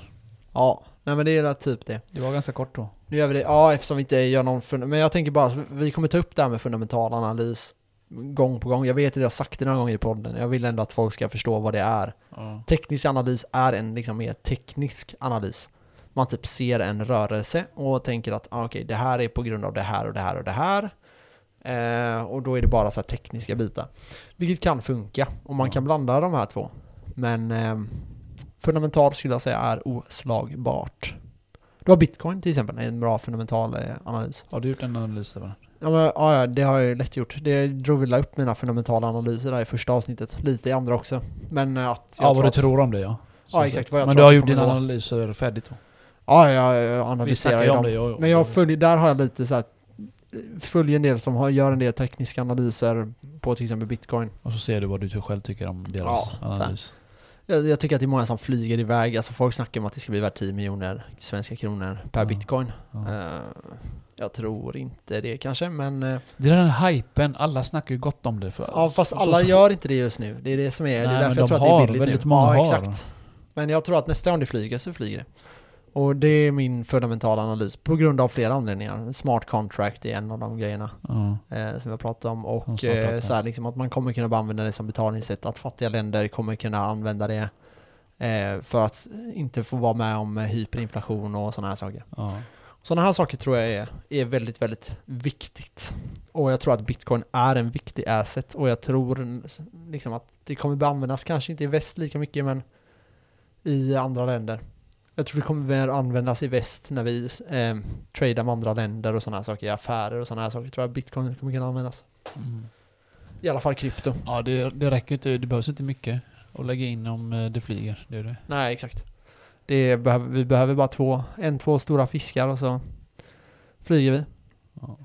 Speaker 2: Ja, nej men det är typ det.
Speaker 1: Det var ganska kort då.
Speaker 2: Nu gör vi det, ja eftersom vi inte gör någon, fun- men jag tänker bara, att vi kommer ta upp det här med fundamental analys gång på gång. Jag vet att jag har sagt det några gånger i podden, jag vill ändå att folk ska förstå vad det är.
Speaker 1: Ja.
Speaker 2: Teknisk analys är en liksom mer teknisk analys. Man typ ser en rörelse och tänker att ah, okej, det här är på grund av det här och det här och det här. Eh, och då är det bara så här tekniska bitar. Vilket kan funka om man kan blanda de här två. Men eh, fundamentalt skulle jag säga är oslagbart. Du har bitcoin till exempel, är en bra fundamental eh, analys.
Speaker 1: Har du gjort en analys där? va?
Speaker 2: Ja, men, ja, ja, det har jag ju lätt gjort. Det drog väl upp mina fundamentala analyser där i första avsnittet, lite i andra också. Men eh, att jag
Speaker 1: Ja, vad
Speaker 2: tror
Speaker 1: du
Speaker 2: att-
Speaker 1: tror om det ja.
Speaker 2: Ja, exakt vad jag
Speaker 1: Men
Speaker 2: tror
Speaker 1: du har
Speaker 2: att
Speaker 1: gjort
Speaker 2: det
Speaker 1: dina
Speaker 2: kommer
Speaker 1: analyser färdigt då?
Speaker 2: Ja, jag, jag
Speaker 1: Vi
Speaker 2: analyserar
Speaker 1: snackade
Speaker 2: ju
Speaker 1: ju om
Speaker 2: dem.
Speaker 1: det. Ja, ja.
Speaker 2: Men jag följer, där har jag lite så här, följer en del som har, gör en del tekniska analyser på till exempel bitcoin.
Speaker 1: Och så ser du vad du själv tycker om deras
Speaker 2: Ja, så här.
Speaker 1: analys.
Speaker 2: Jag, jag tycker att det är många som flyger iväg, alltså folk snackar om att det ska bli värt 10 miljoner svenska kronor per
Speaker 1: Ja,
Speaker 2: bitcoin.
Speaker 1: ja.
Speaker 2: Eh, jag tror inte det kanske, men eh,
Speaker 1: Det är den här hypen, alla snackar ju gott om det. För,
Speaker 2: ja, fast
Speaker 1: så-
Speaker 2: alla
Speaker 1: så-
Speaker 2: gör inte det just nu. Det är det som är, det
Speaker 1: Nej,
Speaker 2: är
Speaker 1: men
Speaker 2: därför jag
Speaker 1: de
Speaker 2: tror att det är
Speaker 1: har,
Speaker 2: billigt
Speaker 1: väldigt
Speaker 2: nu.
Speaker 1: många
Speaker 2: ja,
Speaker 1: har.
Speaker 2: exakt. Men jag tror att nästa gång det flyger så flyger det. Och det är min fundamentala analys på grund av flera anledningar. Smart contract är en av de grejerna.
Speaker 1: Ja.
Speaker 2: eh, som vi har pratat om
Speaker 1: Som
Speaker 2: och
Speaker 1: vi har pratat
Speaker 2: eh,
Speaker 1: om.
Speaker 2: så här, liksom, att man kommer kunna bara använda det som betalningssätt, att fattiga länder kommer kunna använda det eh, för att inte få vara med om eh, hyperinflation och sådana här saker.
Speaker 1: Ja.
Speaker 2: Sådana här saker tror jag är, är väldigt, väldigt viktigt. Och jag tror att bitcoin är en viktig asset och jag tror eh, liksom, att det kommer börja användas, kanske inte i väst lika mycket men i andra länder. Jag tror det kommer väl användas i väst när vi eh, tradar med andra länder och sådana här saker, i affärer och sådana här saker. tror jag bitcoin kommer kunna användas.
Speaker 1: Mm.
Speaker 2: I alla fall krypto.
Speaker 1: Ja, det, det räcker inte. Det behövs inte mycket att lägga in om eh, det flyger. Det är det.
Speaker 2: Nej, exakt. Det behöver, vi behöver bara två, en, två stora fiskar och så flyger vi.
Speaker 1: Ja.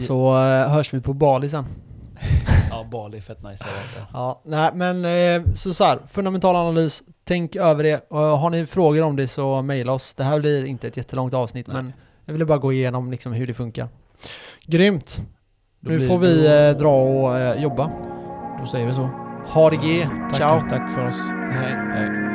Speaker 2: Så eh, hörs vi på Bali sen.
Speaker 1: Ja, Bali är fett nice. där.
Speaker 2: Ja, nej men eh, så, så här, fundamental analys, tänk över det. Och eh, har ni frågor om det så mejla oss. Det här blir inte ett jättelångt avsnitt
Speaker 1: Nej.
Speaker 2: men jag ville bara gå igenom liksom hur det funkar. Grymt!
Speaker 1: Då
Speaker 2: nu
Speaker 1: blir-
Speaker 2: får vi eh, dra och eh, jobba.
Speaker 1: Då säger vi så.
Speaker 2: Ha det G,
Speaker 1: Tack,
Speaker 2: ciao!
Speaker 1: Tack för oss.
Speaker 2: Hej.
Speaker 1: Hej.